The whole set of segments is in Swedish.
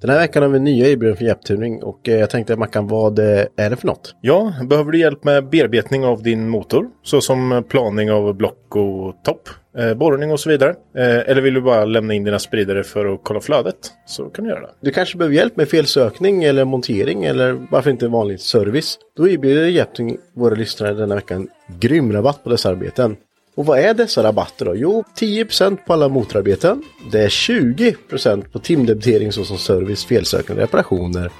Den här veckan har vi nya erbjudanden för hjälptuning och eh, jag tänkte Mackan, vad eh, är det för något? Ja, behöver du hjälp med bearbetning av din motor? Såsom planing av block och topp, eh, borrning och så vidare. Eh, eller vill du bara lämna in dina spridare för att kolla flödet? Så kan du göra det. Du kanske behöver hjälp med felsökning eller montering eller varför inte vanlig service? Då erbjuder Japting våra lyssnare denna veckan grym rabatt på dessa arbeten. Och vad är dessa rabatter då? Jo, 10% på alla motorarbeten. Det är 20% på timdebitering såsom service, felsökande, reparationer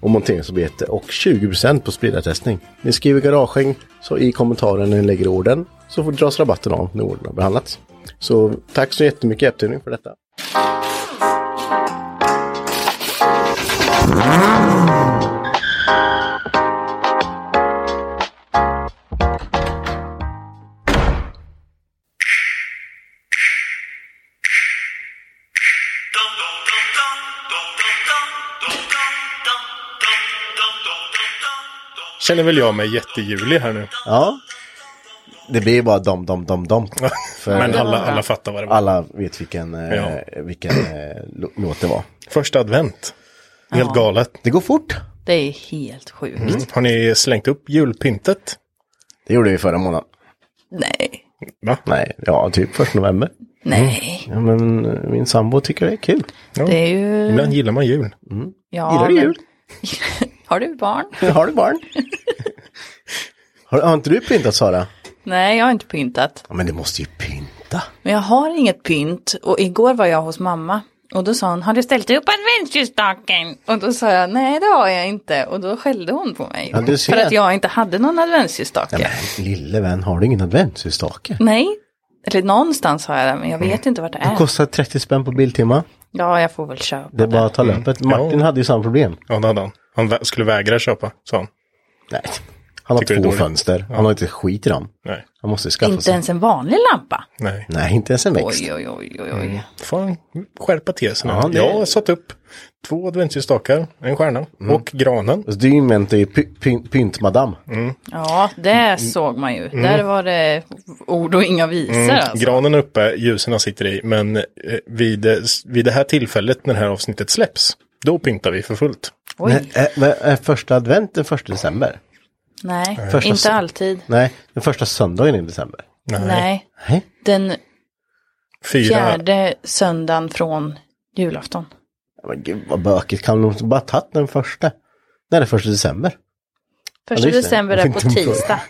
och monteringsarbete och 20% på spridartestning. Ni skriver garagehäng så i kommentaren när ni lägger orden så får dras rabatten av när orden har behandlats. Så tack så jättemycket Hjälptuning för detta. Känner väl jag mig jättejulig här nu. Ja. Det blir bara dom, dom, dom, dom. För Men alla, alla fattar vad det var. alla vet vilken, eh, Ja. vilken eh, lo- låt det var. Första advent. Helt galet. Mm. Det går fort. Det är helt sjukt. Har ni slängt upp julpyntet? Det gjorde vi förra månaden. Nej. Va? Nej, ja, typ första november. Nej. Ja, men eh, min sambo tycker det är kul. Det är ju... Ibland gillar man jul. Ja, Gillar du men- jul? Har du barn? Har du barn? har, har inte du pyntat Sara? Nej, jag har inte pyntat. Ja, men det måste ju pynta. Men jag har inget pynt och igår var jag hos mamma och då sa hon, har du ställt upp adventsljusstaken? Och då sa jag, nej det har jag inte. Och då skällde hon på mig. Ja, du ser. För att jag inte hade någon adventsljusstake. Ja, men, lille vän, har du ingen adventsljusstake? Nej, eller någonstans har jag det, men jag vet inte vart det Det är. kostar 30 spänn på Biltema. Ja, jag får väl köpa Det är det. Mm. bara att ta löpet. Martin Ja. hade ju samma problem. Ja, det hade han. Han vä- skulle vägra köpa, sa han. Nej. Han har Tycker det är två dåligt. fönster. Han har inte skit i dem. Nej. Han måste skaffa Inte sig. ens en vanlig lampa. Nej. Nej, inte ens en växt. Oj, oj, oj, oj, oj. Fan, skärpa till sig nu. Ja, det- Jag har satt upp två adventsljusstakar, en stjärna och granen. Alltså, du är ju ment i py- py- pyntmadam. Ja, det såg man ju. Där var det ord och inga visor Mm. alltså. Granen är uppe, ljusen sitter i, men eh, vid, eh, s- vid det här tillfället när det här avsnittet släpps, då pyntar vi för fullt. Oj. Nej, Är, är, är eh, första advent den första december? Nej, Första inte sö- alltid. Nej, den första söndagen i december. Nej. Nej. Den Fyra. fjärde söndagen från julafton. Men gud vad bökigt, kan de inte bara tagit den första? När är det första december? Första just det. december Jag är fick på inte ihåg. tisdag.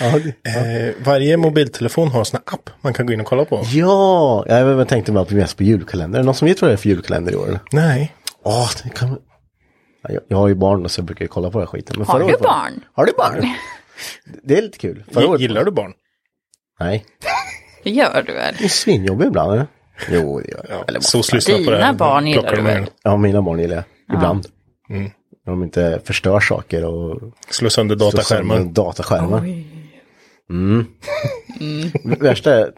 Ja, det- Eh, varje mobiltelefon har en sån här app man kan gå in och kolla på. ja jag vet- tänkte bara på mest på julkalender. Är det Någon som vet vad det är för julkalender i år? eller? Nej. Åh, det kan... man- Ja, jag, jag har ju barn och så brukar jag kolla på den här skiten. Men Har förra du året var- barn? Har du barn? Det är lite kul. Förra G- året- Gillar du barn? Nej. Det gör du väl? Det är svinjobbig ibland. Eller? Jo, det gör jag. Eller måste- SOS lyssnar på det Dina barn gillar Plockar du de väl? ögonen. Ja, mina barn gillar jag. Ibland. Mm. När de inte förstör saker och Slå sönder slår sönder dataskärmen. dataskärmar. Det Mm. värsta är,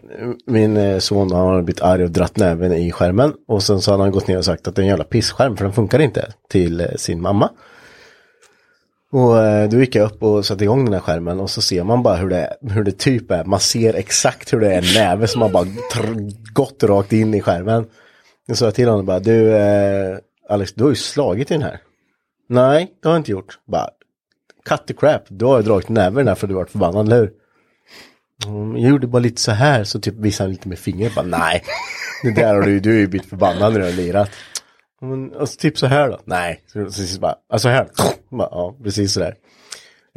min eh, son han har blivit arg och dratt näven i skärmen. Och sen så hade han gått ner och sagt att det är en jävla pissskärm för den funkar inte till eh, sin mamma. Och eh, då gick jag upp och satte igång den här skärmen och så ser man bara hur det, hur det typ är. Man ser exakt hur det är en näve som har bara tr- gått rakt in i skärmen. Jag sa till honom bara, du eh, Alex, du har ju slagit i den här. Nej, det har jag inte gjort. Bara, cut the crap, du har ju dragit näven i den här för du har varit förbannad, eller hur? Mm, jag gjorde bara lite så här, så typ visade han lite med fingret, bara nej. Det där har du, du är ju blivit förbannad när du har lirat. Men, alltså, typ så här då? Nej. Så, så, så bara, alltså här. Bara, ja, precis så där.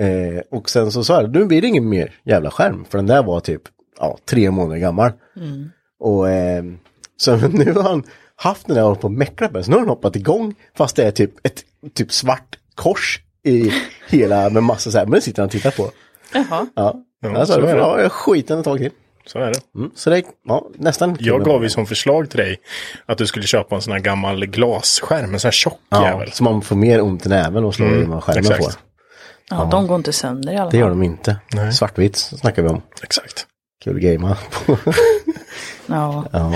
Eh, och sen så sa jag, nu blir det ingen mer jävla skärm. För den där var typ ja, tre månader gammal. Och eh, så nu har han haft den där och hållit på och mecklat med. Så nu har den hoppat igång. Fast det är typ ett typ svart kors i hela med massa så här. Men det sitter han och tittar på. Jaha. Ja. Ja, alltså, så är det. ja, skiten ett tag till. Så är det. Mm. Så det är ja, nästan. Jag gav ju som förslag till dig att du skulle köpa en sån här gammal glasskärm, en sån här tjock ja, jävel. Mm, Så man får mer ont i näven och slår i vad skärmen exakt. får. Ja, de går inte sönder i alla Det fall. gör de inte. Svartvitt snackar vi om. Exakt. Kul gamea. Ja. ja.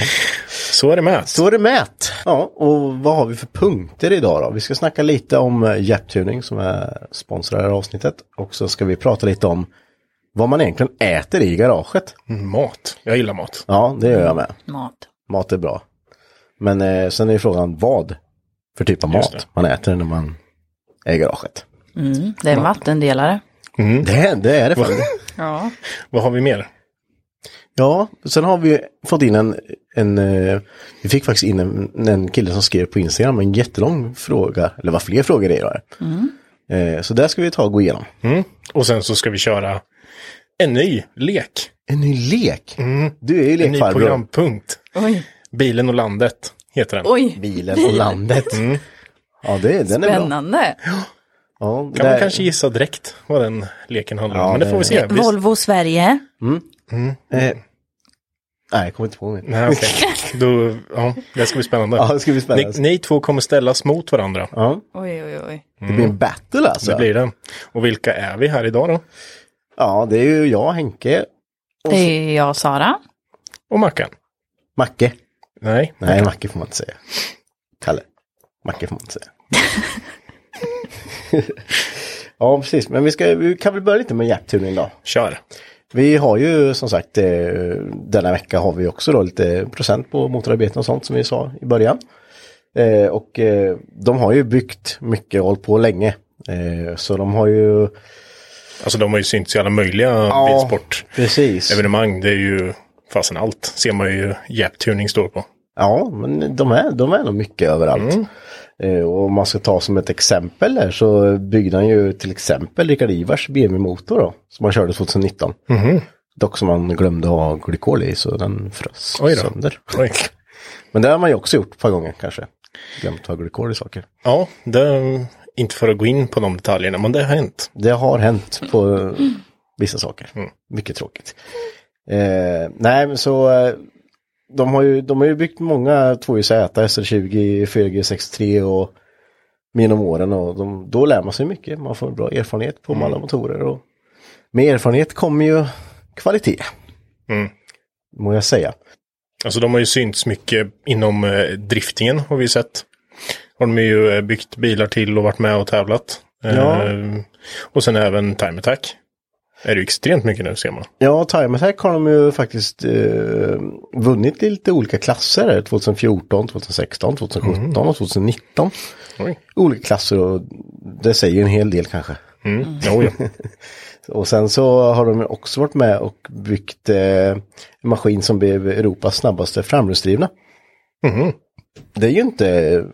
Så är det med. Så är det mät. Ja, och vad har vi för punkter idag då? Vi ska snacka lite om eh, Japtuning som är sponsrar det här avsnittet. Och så ska vi prata lite om vad man egentligen äter i garaget. Mat. Jag gillar mat. Ja, det gör jag med. Mm, Mat. Mat är bra. Men eh, sen är ju frågan vad för typ av Just mat man äter när man är i garaget. Mm. Det är en vattendelare. Mm. Det, det är det fan. Ja. Vad har vi mer? Ja, sen har vi fått in en, en eh, vi fick faktiskt in en, en kille som skrev på Instagram en jättelång fråga, eller vad fler frågor det är. idag. Eh, Så där ska vi ta och gå igenom. Mm. Och sen så ska vi köra en ny lek. En ny lek. Du är ju Mm. En ny lekfarbror. programpunkt. Oj. Bilen och landet heter den. Oj. Bilen och landet. Mm. Ja, det, den är bra. Spännande. Ja, det Kan man där, kanske gissa direkt vad den leken handlar om. Ja, Men det det- får vi se. Vi... Eh, Volvo Sverige. eh, nej, jag kommer inte på mig. Nej, okej. Då, ja, det ska bli spännande. Ja, det ska bli spännande. Ni, ni två kommer ställas mot varandra. Ja, Oj, oj, oj. det blir en battle alltså. Det blir det. Och vilka är vi här idag då? Ja, det är ju jag, Henke, Det är jag, Sara. Och Mackan? Macke. Nej. Nej, Macke får man inte säga. Kalle. Macke får man inte säga. ja, precis. Men vi, ska, vi kan väl börja lite med Japtuning då. Kör. Vi har ju som sagt eh, denna vecka har vi också då lite procent på motorarbeten och sånt som vi sa i början. Eh, och eh, de har ju byggt mycket och hållit på länge. Eh, så de har ju... Alltså de har ju synts i alla möjliga bilsportevenemang. precis. Det är ju fasen allt. Ser man ju Japtuning står på. Ja, men de är, de är nog mycket överallt. Mm. Eh, och om man ska ta som ett exempel här så byggde han ju till exempel Rickard Ivars BMW-motor då, som han körde 2019. Mhm. Dock som han glömde ha glykol i så den frös Oj då. sönder. Oj. Men det har man ju också gjort ett par gånger kanske. Glömt ha glykol i saker. Ja, det, inte för att gå in på de detaljerna, men det har hänt. Det har hänt på vissa saker. Mycket tråkigt. Eh, nej, men så eh, de har ju, de har ju byggt många tvåhjulsig SR20, 4G 63 och genom åren och de, då lär man sig mycket. Man får bra erfarenhet på alla motorer och med erfarenhet kommer ju kvalitet. Mm. Må jag säga. Alltså de har ju synts mycket inom eh, driftingen har vi ju sett. Har de ju eh, byggt bilar till och varit med och tävlat. Ja. Eh, och sen även Time Attack. Är det ju extremt mycket nu ser man. Ja, Time Attack har de ju faktiskt eh, vunnit i lite olika klasser. här, 2014, 2016, 2017 och 2019. Oj. olika klasser och det säger ju en hel del kanske. Mm. Jo, ja. Och sen så har de också varit med och byggt eh, en maskin som blev Europas snabbaste framhjulsdrivna. Mhm. Det är ju inte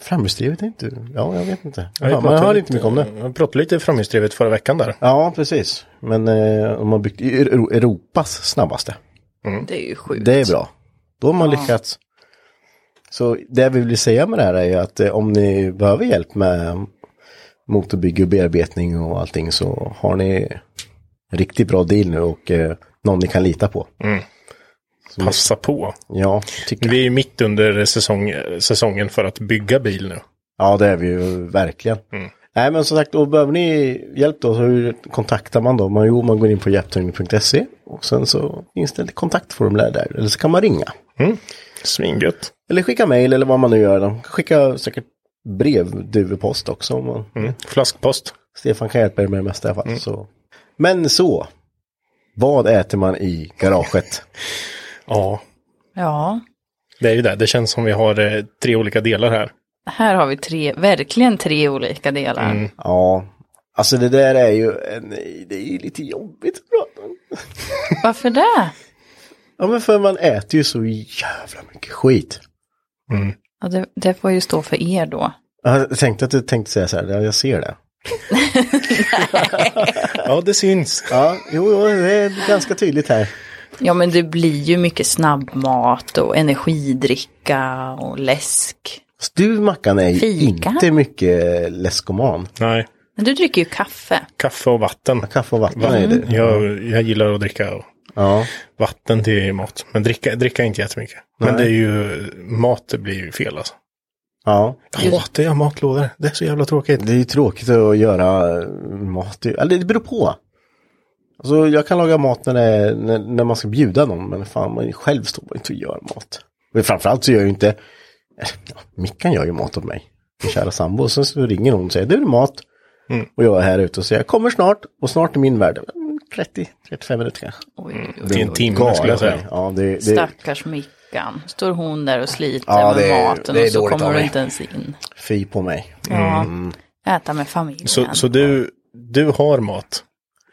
framhjulsdrivet, är inte, ja jag vet inte. Ja, vi Ja, man pratade hör lite- inte mycket om det. Jag pratade lite framhjulsdrivet förra veckan där. Ja, precis. Men eh, de har byggt Euro- Europas snabbaste. Det är ju sjukt. Det är bra. Då har man lyckats. Så det vi vill säga med det här är ju att eh, om ni behöver hjälp med motorbygge och bearbetning och allting så har ni en riktigt bra deal nu och eh, någon ni kan lita på. Passa på. Ja, tycker jag. Vi är ju mitt under säsong, säsongen för att bygga bil nu. Ja, det är vi ju verkligen. Nej men som sagt, och behöver ni hjälp då så hur kontaktar man då? Man, jo, man går in på hjälptuning.se och sen så finns det ett kontaktformulär där. Eller så kan man ringa. Svingött. Eller skicka mejl eller vad man nu gör. De kan skicka säkert brevduvepost också. Om man... Mm. Flaskpost. Stefan kan hjälpa er med det mesta i alla fall. Så. Men så. Vad äter man i garaget? Ja, Ja, det är ju det. Det känns som vi har eh, tre olika delar här. här har vi tre, verkligen tre olika delar. Mm. ja, alltså det där är ju en, det är ju lite jobbigt att prata om. Varför det? Ja men för man äter ju så jävla mycket skit. Ja, det? Det får ju stå för er då. Jag tänkte att du tänkte säga så här, ja, jag ser det. Ja, det syns. Ja, jo, jo det är ganska tydligt här. Ja, men det blir ju mycket snabbmat och energidricka och läsk. Så Du Mackan är ju Fika. inte mycket läskoman. Nej, Men du dricker ju kaffe. kaffe och vatten. Kaffe och vatten är vatten. det. Jag, jag gillar att dricka och Ja. vatten till mat. Men dricka, dricka inte jättemycket. Men Nej. det är ju, mat det blir ju fel alltså. ja. Jag hatar ju matlådor. Det är så jävla tråkigt. Det är ju tråkigt att göra eh, mat. i- Eller det beror på. Alltså, jag kan laga mat när, det är, när, när man ska bjuda någon. Men fan, man själv står man inte och gör mat. Och framförallt så gör jag ju inte... eller, Ja, Mickan gör ju mat åt mig. Min kära sambo. Och sen så ringer hon och säger du det är mat. Och jag är här ute och säger jag kommer snart. Och snart är min värld. 30-35 minuter kanske. Oj, Till en timme skulle jag säga. Ja, Mm, det, det, stackars Mickan. Står hon där och sliter Ja, med det är- maten det är och så dåligt av kommer du mig. Mm. inte ens in. fy på mig. Ja, äta med familjen. Så, så du, du har mat.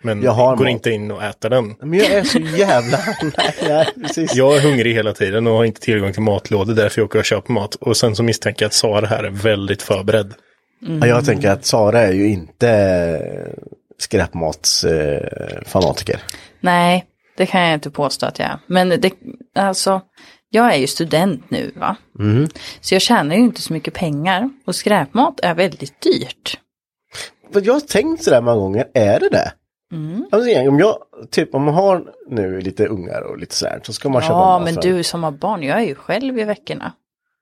Men Jag har går mat. inte in och äter den. Men jag är så jävla... nej, nej, precis. Jag är hungrig hela tiden och har inte tillgång till matlådor. Därför jag åker och köper mat. Och sen så misstänker jag att Sara här är väldigt förberedd. Ja, Jag tänker att Sara är ju inte eh, skräpmatsfanatiker. Eh, fanatiker. Nej, det kan jag inte påstå att jag är. Men det, alltså, jag är ju student nu va. Så jag tjänar ju inte så mycket pengar. Och skräpmat är väldigt dyrt. För jag har tänkt sådär många gånger, är det det? Mm. Alltså, egentligen, om jag, typ om man har nu lite ungar och lite sådär, så ska man köpa Ja, mat men för- du som har barn, jag är ju själv i veckorna.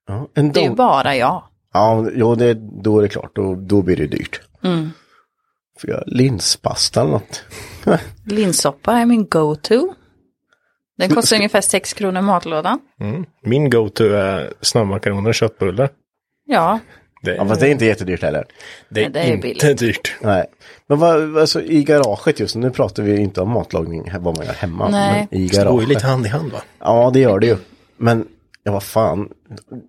Ja, en Det är ju dom- bara jag. Ja, men- jo, det, då är det klart, då, då blir det dyrt. Mm. För jag linspasta eller något. Linssoppa är min go-to. Den kostar ungefär 6 kronor matlådan. Min go-to är snabbmakaroner och köttbullar. Ja, Det, Ja, fast det är inte jättedyrt heller. det är, Nej, det är inte billigt. dyrt. Nej. Men vad, alltså, i garaget just nu, nu pratar vi inte om matlagning, vad man gör hemma. Nej. Men i Det går ju garaget. lite hand i hand va? Ja, det gör det ju. Men, ja vad fan.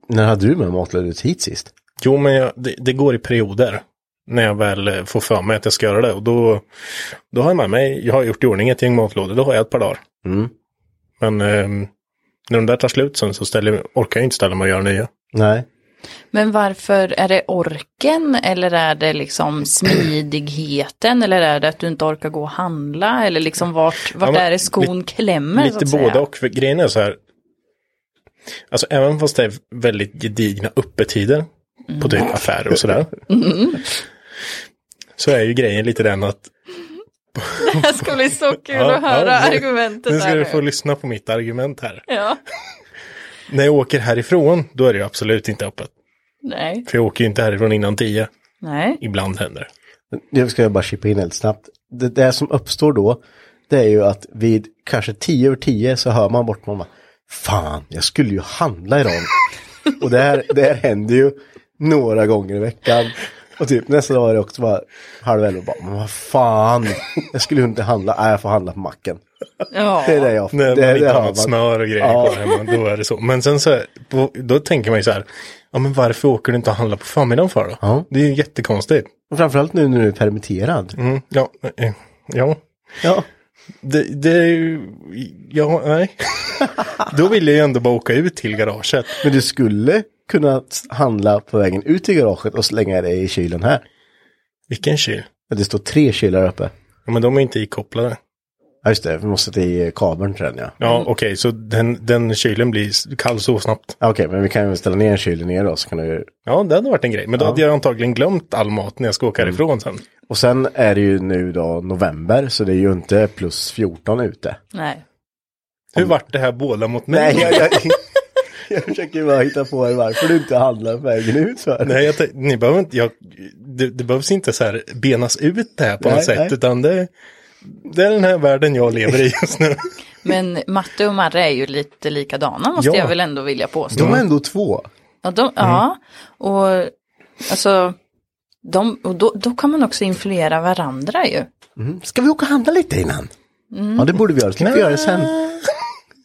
När hade du med matlödet hit sist? Jo, men jag, det, det går i perioder. När jag väl eh, får för mig att jag ska göra det. Och då, då har jag med mig, jag har gjort i ordning ett gäng matlådor. Då har jag ett par dagar. Men ehm, när de där tar slut sen så ställer, orkar jag inte ställa mig och göra nya. Nej. men varför är det orken eller är det liksom smidigheten eller är det att du inte orkar gå och handla eller liksom vart, vart Ja, men är det skon klämmer så Lite att båda säga? och. För grejen är så här. Alltså även fast det är väldigt gedigna öppettider på Mm. typ affärer och sådär. Så är ju grejen lite den att Det ska bli så kul Ja, att höra ja, nu- argumentet nu ska här du få lyssna på mitt argument här. Ja, När jag åker härifrån, då är det ju absolut inte öppet. nej, För jag åker ju inte härifrån innan tio. nej. Ibland händer det. Jag ska jag bara chippa in helt snabbt. Det, det som uppstår då, det är ju att vid kanske 10 över 10 så hör man bort man bara, Fan, jag skulle ju handla idag. och det här, det här händer ju några gånger i veckan. Och typ nästa dag är det också bara halv elva och bara, men vad fan, jag skulle ju inte handla, nej jag får handla på macken. Ja. Det är det jag, När det, man det inte hör har något smör och grejer Ja. kvar hemma, då är det så. Men sen så, här, på, då tänker man ju så här, ja men varför åker du inte och handlar på förmiddagen för då? Ja. Det är ju jättekonstigt. Och Framförallt nu när du är permitterad. Mm, ja, eh, ja. Ja. Det, det är ju, ja, nej. då vill jag ju ändå bara åka ut till garaget. Men du skulle kunna handla på vägen ut i garaget och slänga det i kylen här. Vilken kyl. Men Det står tre kylar uppe. Ja, men de är inte ikopplade. Ja just det, vi måste sätta i kabeln till den ja. Ja, okej, så den, den kylen blir s- kall så snabbt. Ja, Okej, men vi kan ju ställa ner kylen ner då så kan du... Ja, det hade varit en grej. Men då hade jag antagligen glömt all mat när jag ska Mm. åka härifrån sen. Och sen är det ju nu då november så det är ju inte plus 14 ute. Nej. Hur vart det här båda mot mig? Nej, jag, jag, Jag försöker ju bara hitta på er varför du inte handlar på vägen ut. För. Nej, jag, tän- ni behöver inte, jag, det, det behövs inte så här benas ut det här på Nej, något sätt, nej. utan det, det är den här världen jag lever i just nu. Men Matte och Marre är ju lite likadana måste Ja. jag väl ändå vilja påstå. De är ändå två. Ja, de, ja. Mm. och alltså, de, och då, då kan man också influera varandra ju. Ska vi åka och handla lite innan? Ja, det borde vi göra. Ska vi göra det sen?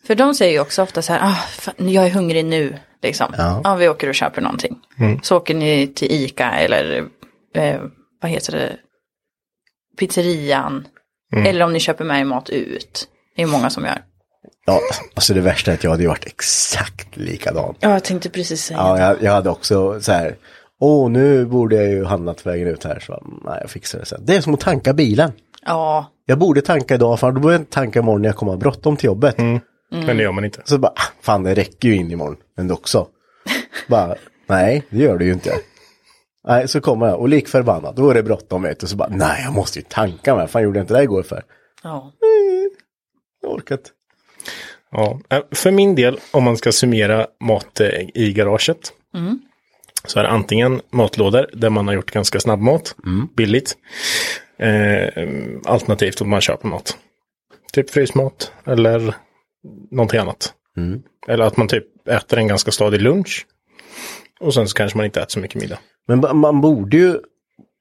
För de säger ju också ofta så här, ah, fan, jag är hungrig nu, liksom. Ja. vi åker och köper någonting. Mm. Så åker ni till Ica eller, eh, vad heter det, pizzerian. Mm. Eller om ni köper med er mat ut. Det är många som gör. Ja, alltså det värsta är att jag hade ju varit exakt likadan. Ja, jag tänkte precis säga Ja, jag, jag hade också så här. Åh, nu borde jag ju handlat vägen ut här. Så, nej, jag fixar det sen. Det är som att tanka bilen. Ja, Jag borde tanka idag, för då borde jag inte tanka imorgon när jag kommer ha bråttom till jobbet. Mm. Men det gör man inte. Så bara, ah, fan det räcker ju in imorgon ändå också. bara, nej, det gör det ju inte. Nej, så kommer jag och lik förbannat, då är det bråttom vet du. Så bara, nej, jag måste ju tanka med. Fan gjorde jag inte det här igår för? ja. Jag har orkat. Ja, eh, för min del, om man ska summera mat eh, i garaget, så är det antingen matlådor där man har gjort ganska snabb mat, Mm. billigt, eh, alternativt om man köper mat. Typ frysmat eller någonting annat. Mm. Eller att man typ äter en ganska stadig lunch. Och sen så kanske man inte äter så mycket middag. Men ba- man borde ju,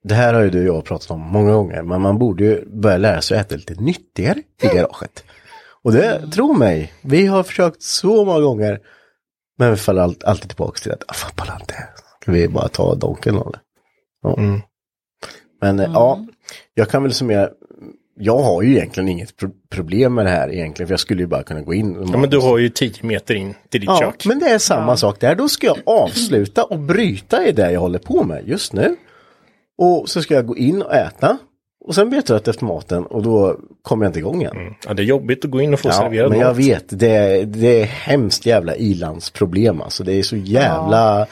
det här har ju du och jag pratat om många gånger, men man borde ju börja lära sig att äta lite nyttigare i garaget. Och det, tro mig, vi har försökt så många gånger, men vi faller allt- alltid tillbaka till att, ah, fan pallar inte, ska vi bara ta donken eller? Ja. Mm. Men eh, ja, jag kan väl summera, jag har ju egentligen inget pro- problem med det här egentligen, för jag skulle ju bara kunna gå in. och- Ja, men du har ju 10 meter in till ditt Ja, kök. men det är samma sak där. Då ska jag avsluta och bryta i det jag håller på med just nu. Och så ska jag gå in och äta. Och sen blir jag trött efter maten och då kommer jag inte igång igen. Ja, det är jobbigt att gå in Mm. och få Ja, serverad men jag mat. vet, det är, det är hemskt jävla ilandsproblem alltså. Det är så jävla...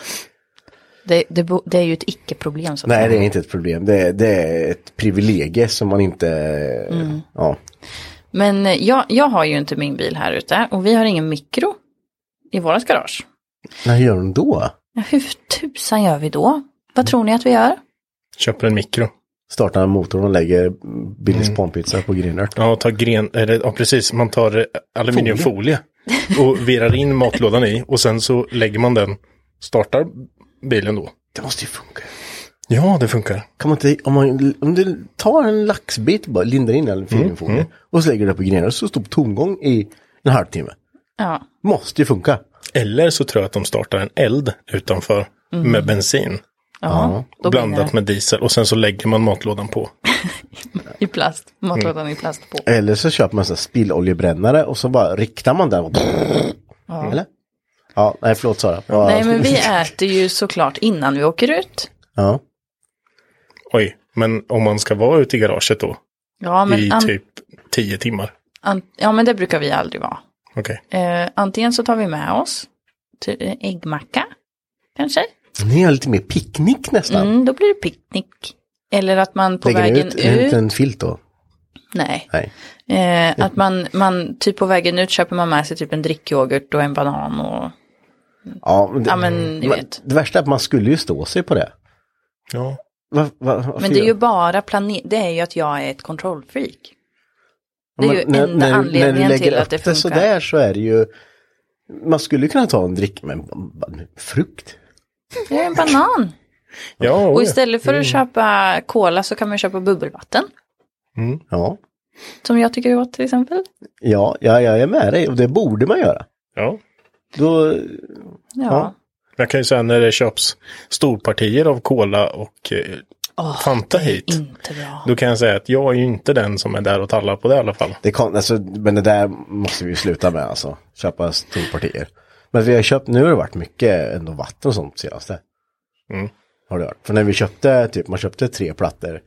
Det, det, bo- det är ju ett icke-problem. Så att Nej, säga. det är inte ett problem. Det är, det är ett privilegie som man inte... Ja. Men eh, jag, jag har ju inte min bil här ute och vi har ingen mikro i vårat garage. När gör de då? Ja, hur tusan gör vi då? Vad tror ni att vi gör? Köper en mikro. Startar motorn och lägger Billys Mm. pommes på grillen. Ja, ta gren, eller, ja precis, man tar eh, aluminiumfolie och virar in matlådan i och sen så lägger man den, startar bilen då. Det måste ju funka. Ja, det funkar. Kan man inte, om, man, om du tar en laxbit bara, lindar in den i filmfolie och så lägger du det på grenar och så står på tomgång i en halvtimme. Ja, Måste ju funka. Eller så tror jag att de startar en eld utanför med bensin ja, då brinner blandat med diesel och sen så lägger man matlådan på. det. i plast. Matlådan i plast på. Eller så köper man en sån här spilloljebrännare och så bara riktar man den. Och... Eller? Ja, nej förlåt Sara. Ja. Nej, men vi äter ju såklart innan vi åker ut. Ja. Oj, men om man ska vara ute i garaget då Ja, men, i an, typ tio timmar. an, ja, men det brukar vi aldrig vara. Okej, Eh, antingen så tar vi med oss till en äggmacka, kanske. Ni är lite mer picknick nästan. Mm, då blir det picknick. Eller att man på Lägger ni vägen ut, ut... ut en filt då? Nej. Nej. Eh, att man, man, typ på vägen ut köper man med sig typ en drickyoghurt och en banan och... Ja, men det, Ja, men ni vet. det värsta är att man skulle ju stå sig på det. ja. Va, va, varför Men det är gör- ju bara planerat, det är ju att jag är ett kontrollfreak. Ja, Det är men ju enda du- anledningen när du lägger till att upp det funkar. sådär så är det ju, man skulle kunna ta en drick, men vad- nu, frukt? Jag är en banan. ja Och oj. istället Mm. för att köpa cola så kan man köpa bubbelvatten. Ja. Som jag tycker är gott till exempel. Ja, ja, jag är med dig och det borde man göra. ja. Då, Ja. Jag kan ju säga när det köps storpartier av cola och eh, Fanta hit. Inte bra. Då kan jag säga att jag är ju inte den som är där och tallar på det i alla fall. det kan, alltså, men det där måste vi ju sluta med alltså, köpa storpartier. Men vi har ju köpt, nu har det varit mycket ändå vatten och sånt senaste. Mm. Har det varit. För när vi köpte, typ, man köpte tre plattor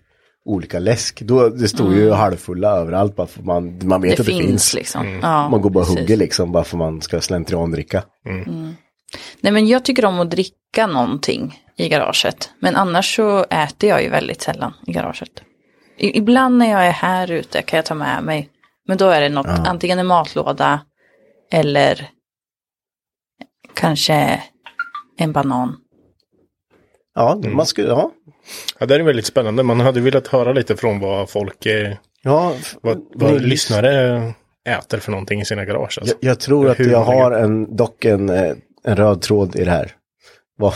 olika läsk, då, det stod ju halvfulla överallt bara för man, man vet Mm. Det att det finns, finns. liksom. Ja, Man går bara och precis. hugger liksom, bara för man ska slentriandricka. Nej men jag tycker om att dricka någonting i garaget. Men annars så äter jag ju väldigt sällan i garaget. I, ibland när jag är här ute kan jag ta med mig. Men då är det något, antingen en matlåda eller kanske en banan. Ja, Mm. man skulle, ja. Ja, det här är väldigt spännande. Man hade velat höra lite från vad folk, eh, ja f- vad, vad ni- lyssnare äter för någonting i sina garage. Alltså. Jag, jag tror att Hur jag många- har en, dock en, eh, en röd tråd i det här. Vad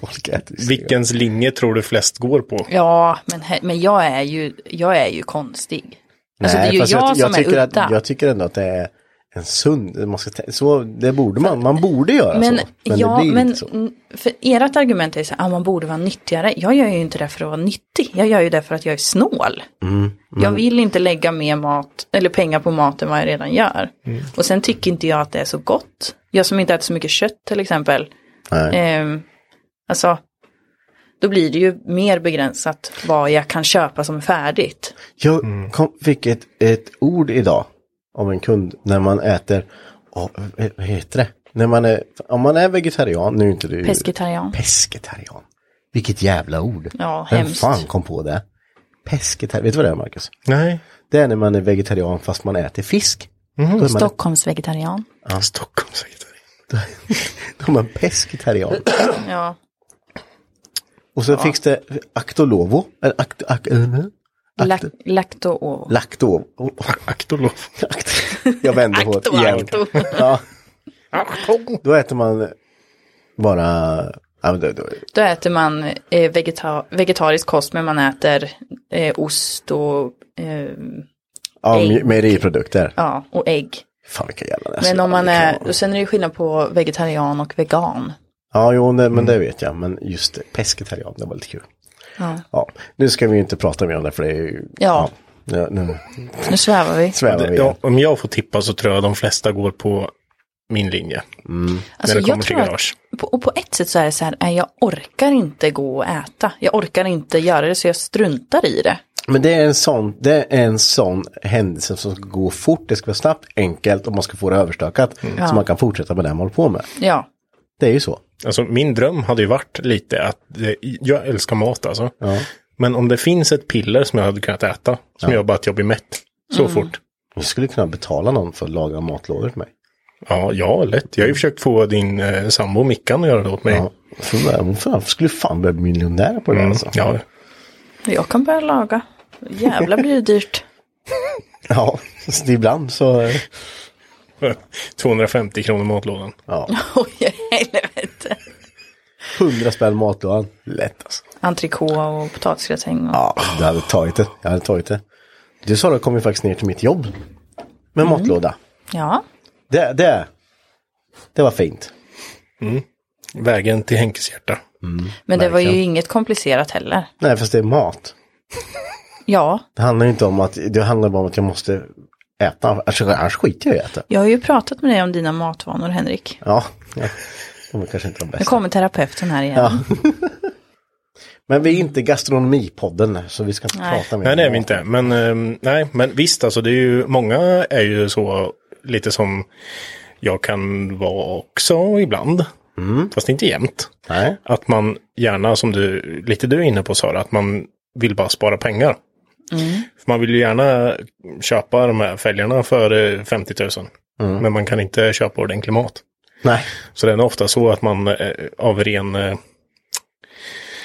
folk äter. i sina garage. Vilkens linje tror du flest går på? Ja, men, he- men jag, är ju, jag är ju konstig. Alltså det är ju jag, fast ty- som tycker är att, udda. Jag tycker ändå att det är en sund, man ska, tä- så, det borde man, man borde göra men, så. ja, Alltså, det blir men inte så. mm, för ert argument är så här, ah, man borde vara nyttigare. Jag gör ju inte det för att vara nyttig. Jag gör ju det för att jag är snål. Mm, Jag vill inte lägga mer mat, eller pengar på mat än vad jag redan gör. Mm. Och sen tycker inte jag att det är så gott. Jag som inte äter så mycket kött till exempel. Nej. Ehm, alltså, då blir det ju mer begränsat vad jag kan köpa som är färdigt. Jag Mm. kom, fick ett, ett ord idag av en kund när man äter, oh, vad heter det? När man är, om man är vegetarian, nu är inte du Pescetarian. Pescetarian. Vilket jävla ord. Ja, Vem hemskt. fan kom på det? Pescetarian, vet du vad det är Marcus? Nej, Det är när man är vegetarian fast man äter fisk. Mhm. Då är man, Stockholmsvegetarian. ja. Stockholmsvegetarian. då är man pescetarian. Ja. Och så finns det aktolovo. eller Akt, ak, äh, Lak, lacto och... lakto. oh, Aktolov. akt- Jag vänder på det igen. Ja, då äter man bara... Ja, men då, då, Då äter man eh, vegeta- vegetarisk kost men man äter eh, ost och, eh, ja, Ägg. me- mejeriprodukter. ja, och ägg. Fan vilka jävla näsor. Men om man Alltså, Det kan är, vara. och sen är det skillnad på vegetarian och vegan. Ja, jo, nej, men Mm. det vet jag. Men just det, pescetarian, det var lite kul. Ja. Ja, nu ska vi ju inte prata mer om det för det är ju... Ja. ja nu Nu svävar vi. svävar vi. Ja, om jag får tippa så tror jag de flesta går på min linje. när det Alltså, jag kommer till tror att, garage. på- och på ett sätt så är det så här, nej, jag orkar inte gå och äta. Jag orkar inte göra det så jag struntar i det. Men det är en sån, det är en sån händelse som ska gå fort, det ska vara snabbt, enkelt och man ska få det överstökat. Mm. Så man kan fortsätta med det man håller på med. Ja, Det är ju så. Alltså min dröm hade ju varit lite att, det, jag älskar mat alltså. Men om det finns ett piller som jag hade kunnat äta, som gör bara att jag blir mätt så Mm. fort. Du skulle kunna betala någon för att laga matlådor till mig. Ja, ja, lätt. Jag har ju försökt få din eh, sambo Mickan att göra det åt mig. Ja. För vad- Hon fan, skulle fan bli miljonär på det Mm, alltså. ja. jag kan börja laga. Jävlar blir det dyrt. ja, så ibland så... eh, 250 kronor matlådan. Ja, Oj, helvete. 100 spänn matlådan. Lätt alltså. Entrecote och potatisgratäng. Och... Ja, du hade tagit det. Jag hade tagit det. Du sa det kom ju faktiskt ner till mitt jobb. Med matlåda. ja. Det, det, det var fint. Vägen till Henkes hjärta. Men det var ju Verkligen. inget komplicerat heller. Nej, fast det är mat. Ja, Det handlar ju inte om att, det handlar bara om att jag måste äta, alltså, annars skiter jag i att äta. jag har ju pratat med dig om dina matvanor Henrik. Ja, ja. de är kanske inte de Nu bästa. kommer terapeuten här igen. Men vi är inte gastronomipodden så vi ska inte prata mer. Nej, om det är vi mat. inte. Men, ehm, nej, men visst, alltså det är ju, många är ju så lite som jag kan vara också ibland. Mm. Fast inte jämt. Nej. Att man gärna, som du, lite du är inne på Sara, att man vill bara spara pengar. Mm. För man vill ju gärna köpa de här fälgarna för eh, 50 000. Mm. Men man kan inte köpa ordentlig mat. Nej. Så den är ofta så att man eh, av ren eh,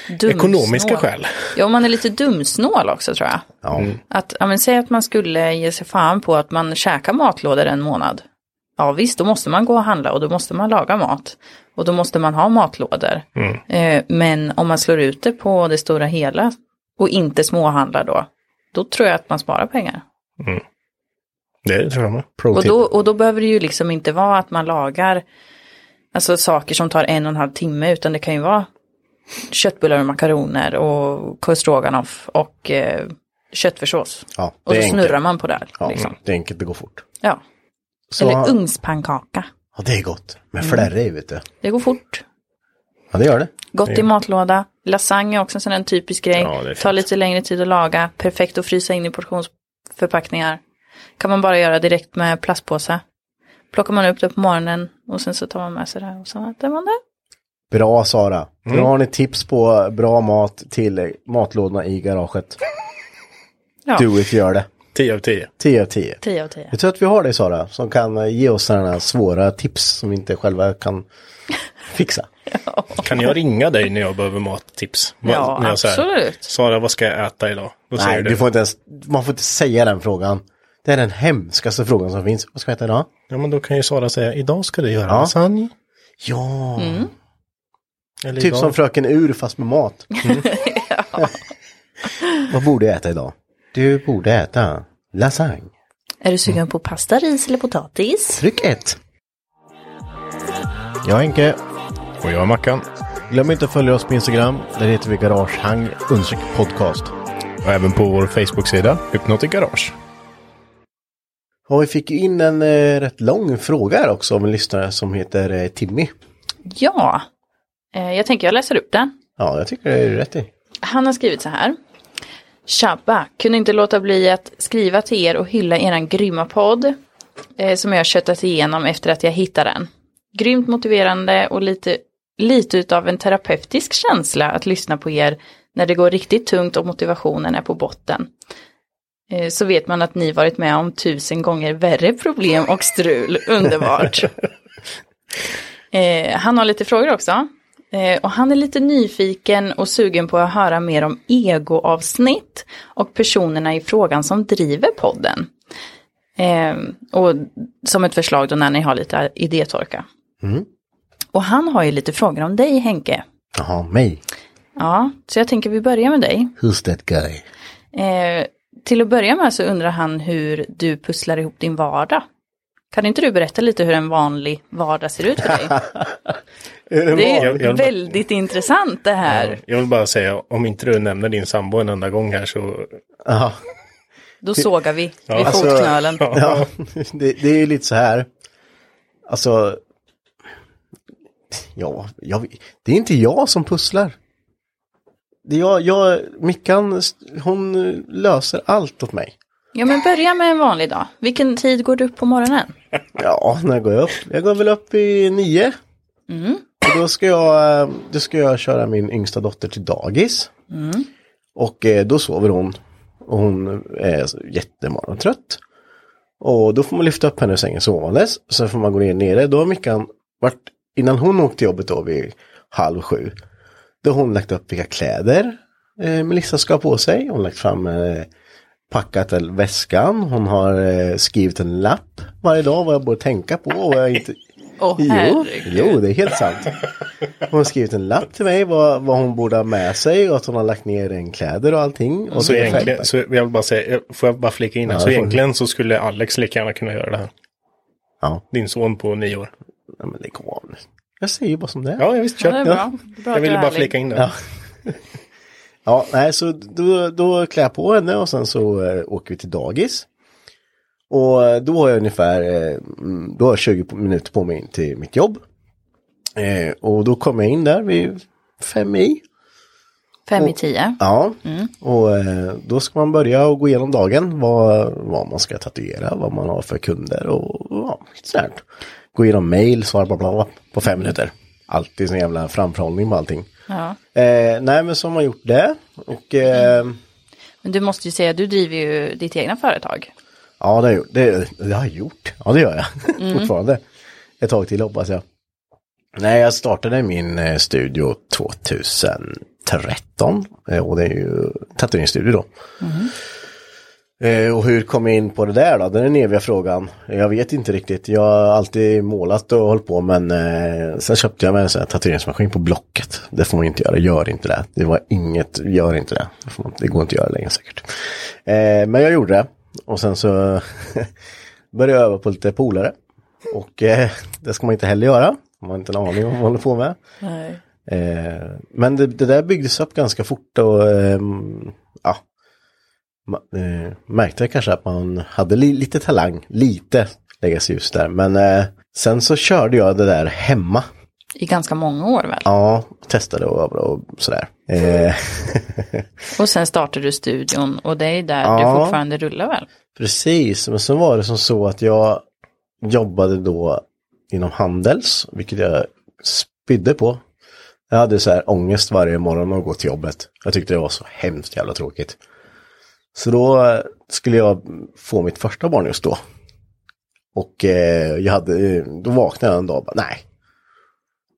Dumsnål. ekonomiska skäl. Ja, och man är lite dumsnål också tror jag. Ja. Mm. Att, ja, men säg att man skulle ge sig fan på att man käkar matlådor en månad. Ja visst, då måste man gå och handla och då måste man laga mat. Och då måste man ha matlådor. Mm. Eh, men om man slår ut det på det stora hela och inte småhandlar då, då tror jag att man sparar pengar. Det tror jag med. Pro Och tip. då, och då behöver det ju liksom inte vara att man lagar alltså, saker som tar en och en halv timme, utan det kan ju vara köttbullar och makaroner och korvstroganoff och eh, köttfärssås. ja, Och det så är snurrar enkelt. man på där. Ja, liksom. Det är enkelt, det går fort. ja. Så, Eller ugnspannkaka. Ja, det är gott. Med flärre i, vet du. Det går fort. Ja, det gör det. Gott i matlåda. Lasagne är också en sån där typisk grej. Ja, det är Tar fint. lite längre tid att laga. Perfekt att frysa in i portionsförpackningar. Kan man bara göra direkt med plastpåse. Plockar man upp det på morgonen och sen så tar man med sig det här och så äter man det. Bra Sara. Mm. Nu har ni tips på bra mat till eh, matlådorna i garaget. Ja. Do it, gör det. 10 av 10. 10 av 10. 10 av 10. Jag tror att vi har dig Sara, som kan eh, ge oss sådana här svåra tips som vi inte själva kan fixa. Kan jag ringa dig när jag behöver mattips? Vad- Ja, när jag så här, absolut. Sara, vad ska jag äta idag? Då Nej, säger du får inte ens, man får inte säga den frågan. Det är den hemskaste frågan som finns. Vad ska jag äta idag? Ja, men då kan ju Sara säga, idag ska du göra Ja. lasagne. Ja, Mm. Eller typ idag. som Fröken Ur fast med mat. Mm. Vad borde jag äta idag? Du borde äta lasagne. Är du sugen på pasta, ris eller potatis? Tryck 1. Jag är Henke. Och jag är Mackan. Glöm inte att följa oss på Instagram. Där heter vi Garagehang understreck podcast. Och även på vår Facebook-sida, Hypnotic Garage. Och vi fick ju in en eh, rätt lång fråga här också av en lyssnare som heter eh, Timmy. Ja, eh, jag tänker jag läser upp den. Ja, jag tycker det är rätt i. Han har skrivit så här. Tjabba, kunde inte låta bli att skriva till er och hylla eran grymma podd. Eh, som jag har köttat igenom efter att jag hittade den. Grymt motiverande och lite, lite utav en terapeutisk känsla att lyssna på er när det går riktigt tungt och motivationen är på botten. Eh, så vet man att ni varit med om tusen gånger värre problem och strul. Underbart. Eh, han har lite frågor också. Eh, och han är lite nyfiken och sugen på att höra mer om egoavsnitt och personerna i frågan som driver podden. Eh, och som ett förslag då när ni har lite idétorka. Och han har ju lite frågor om dig Henke. Jaha, mig. Ja, så jag tänker vi börjar med dig. Who's that guy? Eh, till att börja med så undrar han hur du pusslar ihop din vardag. Kan inte du berätta lite hur en vanlig vardag ser ut för dig? Det är Jag- jag- väldigt intressant det här. Jag vill bara säga, om inte du nämner din sambo en enda gång här så... Jaha. Då sågar vi vid alltså, fotknölen. Ja, det, det är ju lite så här. Alltså. Ja, jag, det är inte jag som pusslar. Det är jag, jag, Mickan, hon löser allt åt mig. Ja men börja med en vanlig dag. Vilken tid går du upp på morgonen? Ja, när går jag upp? Jag går väl upp i nio. Och då ska, jag, eh, då ska jag köra min yngsta dotter till dagis. Och eh, då sover hon. Och hon är så jättemorgontrött. Och då får man lyfta upp henne ur sängen sovandes. Sen får man gå ner nere. Då har Mickan varit, innan hon åkte till jobbet då vid halv sju. Då har hon lagt upp vilka kläder eh, Melissa ska ha på sig. Hon har lagt fram eh, packat en- väskan. Hon har eh, skrivit en lapp varje dag vad jag borde tänka på och vad jag inte... Åh Jo, herregud. jo, det är helt sant. Hon har skrivit en lapp till mig vad, vad hon borde ha med sig och att hon har lagt ner en kläder och allting. Och Så är det egentligen, fem- så jag vill bara säga, får jag bara flika in här? Ja, så det får du. egentligen så skulle Alex lika gärna kunna göra det här. Ja, Din son på nio år. nej, men lägg av nu. Jag säger ju bara som det är. Ja, visst, kör. Ja, det är bra. bra Jag ville bara flika flika in det. Ja. Ja, nej, så då, då klär jag på henne och sen så eh, åker vi till dagis. Och eh, då har jag ungefär, eh, mm, då har jag 20 på- minuter på mig in till mitt jobb. Eh, och då kommer jag in där vid fem i. Fem i tio. Ja, och eh, då ska man börja och gå igenom dagen. Vad, vad man ska tatuera, vad man har för kunder och ja, lite sånt. här. Gå igenom mail, svara bla bla bla på fem minuter. Alltid sån jävla framförhållning på allting. Ja. Eh, nej men så har man gjort det. Och eh, Men du måste ju säga, du driver ju ditt egna företag. ja det har jag gjort. Det, det har jag gjort. Ja det gör jag fortfarande. Ett tag till hoppas jag. Nej jag startade min eh, studio 2013. Eh, och det är ju tatueringsstudio då. Eh, och hur kom jag in på det där då? Den är den eviga frågan. Jag vet inte riktigt. Jag har alltid målat och hållit på men eh, sen köpte jag mig en sån här tatueringsmaskin på Blocket. Det får man inte göra. Gör inte det. Det var inget. Gör inte det. Det, får man, det går inte att göra längre säkert. Eh, men jag gjorde det. Och sen så började jag öva på lite polare. Och eh, det ska man inte heller göra. Man har inte en aning om vad man håller på med. Nej. Eh, men det, det där byggdes upp ganska fort och ehm, ja, ma- eh, märkte jag kanske att man hade li, lite talang, lite lägga sig just där. Men eh, sen så körde jag det där hemma. I ganska många år väl? Ja, testade och övade och sådär. Eh, Och sen startade du studion och det är där Ja. du fortfarande rullar väl? Precis, men sen var det som så att jag jobbade då inom Handels, vilket jag spydde på. Jag hade så här ångest varje morgon att gå till jobbet. Jag tyckte det var så hemskt jävla tråkigt. Så då eh, skulle jag få mitt första barn just då. Och eh, jag hade, eh, då vaknade jag en dag och bara, nej.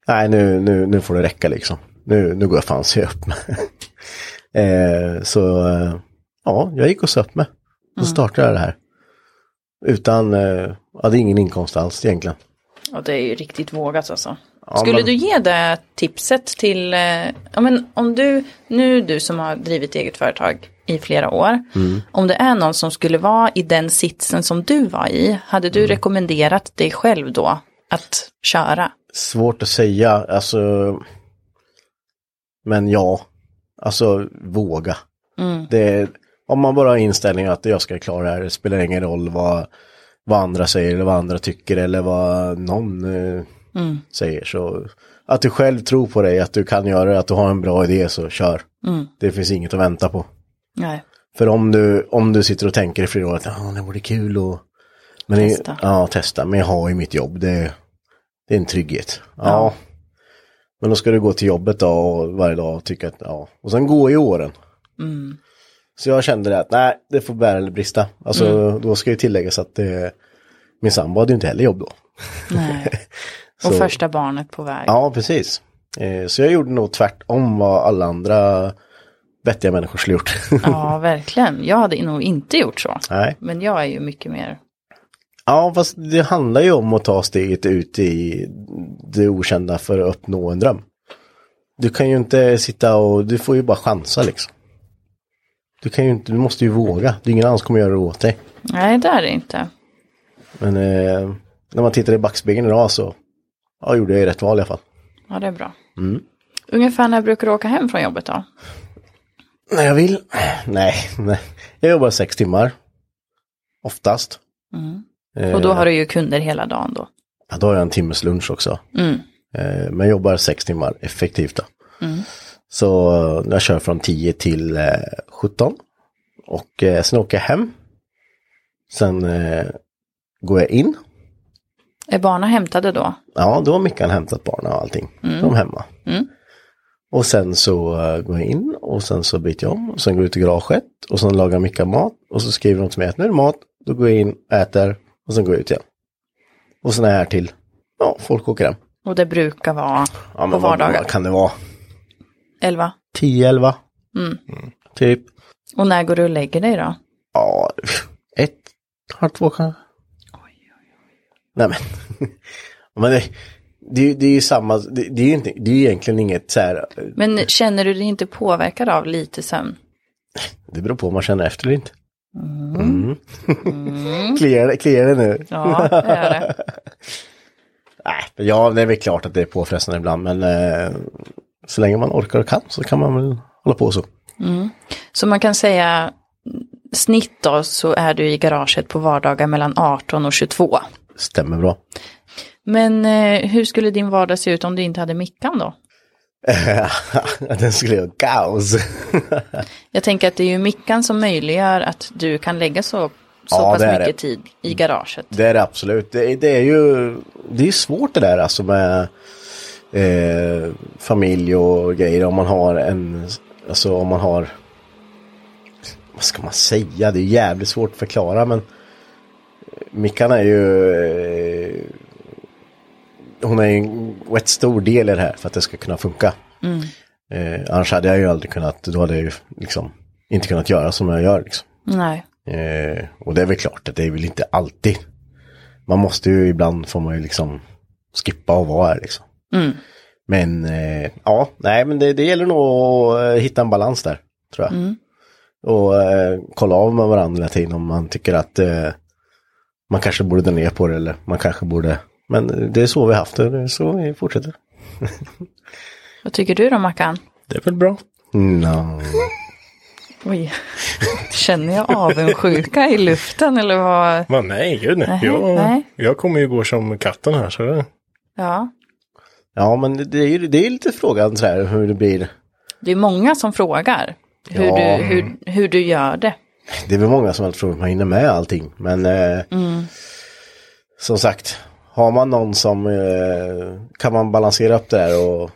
Nej, nu, nu, nu får det räcka liksom. Nu, nu går jag fan och ser upp mig. eh, så eh, ja, jag gick och söp mig. Då startade jag det här. Utan, eh, hade ingen inkomst alls egentligen. Ja, det är ju riktigt vågat alltså. Ja, Skulle men- du ge det tipset till, eh, ja men om du, nu du som har drivit eget företag i flera år, Mm. om det är någon som skulle vara i den sitsen som du var i, hade Mm. du rekommenderat dig själv då att köra? Svårt att säga, alltså. Men ja, alltså våga. Det, om man bara har inställningen att jag ska klara det här, det spelar ingen roll vad, vad andra säger eller vad andra tycker eller vad någon eh, säger. Så att du själv tror på dig, att du kan göra det, att du har en bra idé så kör. Det finns inget att vänta på. Nej. För om du, om du sitter och tänker i flera år att ah, det vore kul och men det- Testa. Ja, testa. Men jag har ju mitt jobb. Det, det är en trygghet. Ja. Ja. Men då ska du gå till jobbet då och varje dag och tycka att ja. Och sen gå i åren. Mm. Så jag kände det att nej, det får bära eller brista. Alltså Mm. då ska ju tilläggas att det, min sambo hade ju inte heller jobb då. Nej. Och Så- första barnet på väg. Ja, precis. Eh, så jag gjorde nog tvärtom vad alla andra vettiga människor skulle gjort. Ja, verkligen. Jag hade nog inte gjort så. nej. Men jag är ju mycket mer, Ja, fast det handlar ju om att ta steget ut i det okända för att uppnå en dröm. Du kan ju inte sitta och, du får ju bara chansa liksom. Du kan ju inte, du måste ju våga. Det är ingen annan som kommer göra det åt dig. nej det är det inte. Men eh, när man tittar i backspegeln idag så, ja, gjorde jag ju rätt val i alla fall. Ja, det är bra. Mm. Ungefär när brukar du åka hem från jobbet då? När jag vill? Nej, nej. Jag jobbar sex timmar. Oftast. Och Eh. då har du ju kunder hela dagen då. Ja, då har jag en timmes lunch också. Eh, men jag jobbar sex timmar effektivt. Då. Så eh, jag kör från 10 till eh, 17. Och eh, sen åker jag hem. Sen eh, går jag in. Är barnen hämtade då? Ja, då har Mickan hämtat barnen och allting. De är hemma. Och sen så eh, går jag in och sen så byter jag om. Och sen går jag ut i garaget. Och sen lagar Mickan mat. Och så skriver de till mig att nu är det mat. Då går jag in, äter och sen går jag ut igen. Och sen är jag här till, ja, folk åker hem. Och det brukar vara Ja, på men vad, vardagar. vad kan det vara? 11. 10, 11? Typ. Och när går du och lägger dig då? Ja, ett, halv två kanske. Nej men. men det, det, är ju- det är ju samma, det, det är ju inte, det är ju egentligen inget så här, Men känner du dig inte påverkad av lite sömn? det beror på om man känner efter eller inte. Mm. kliar, det- kliar det nu? Ja, det är det. Nej, men ja, det är väl klart att det är påfrestande ibland, men eh, så länge man orkar och kan så kan man väl hålla på så. Så man kan säga mm, snitt då så är du i garaget på vardagar mellan 18 och 22. Stämmer bra. Men eh, hur skulle din vardag se ut om du inte hade Mickan då? Den skulle jag kaos. Jag tänker att det är ju Mickan som möjliggör att du kan lägga så, så Ja, pass det är mycket det. tid i garaget. Det är det absolut. Det, är- det är ju det är svårt det där alltså med eh, familj och grejer. Om man har en, alltså om man har, vad ska man säga? Det är jävligt svårt att förklara men Mickan är ju, eh, hon är ju en rätt stor del i det här för att det ska kunna funka. Eh, annars hade jag ju aldrig kunnat, då hade jag ju liksom inte kunnat göra som jag gör liksom. Nej. Eh, och det är väl klart att det är väl inte alltid. Man måste ju ibland får man ju liksom skippa och vara här liksom. Men eh, ja, nej men det, det gäller nog att eh, hitta en balans där. Tror jag. Och eh, kolla av med varandra hela tiden om man tycker att eh, man kanske borde dra ner på det eller man kanske borde. Men eh, det är så vi haft det, det är så vi fortsätter. Vad tycker du då Mackan? Det är väl bra. No. Oj, känner jag avundsjuka i luften eller vad? Men nej, gud nej. Nej, jag, nej. jag kommer ju gå som katten här. Så det, Ja, Ja men det, det, är, ju- det är lite frågan så här hur det blir. det är många som frågar hur, Ja. du, hur, hur du gör det. Det är väl många som alltid tror att man hinner med allting. Men eh, som sagt, har man någon som eh, kan man balansera upp det där och,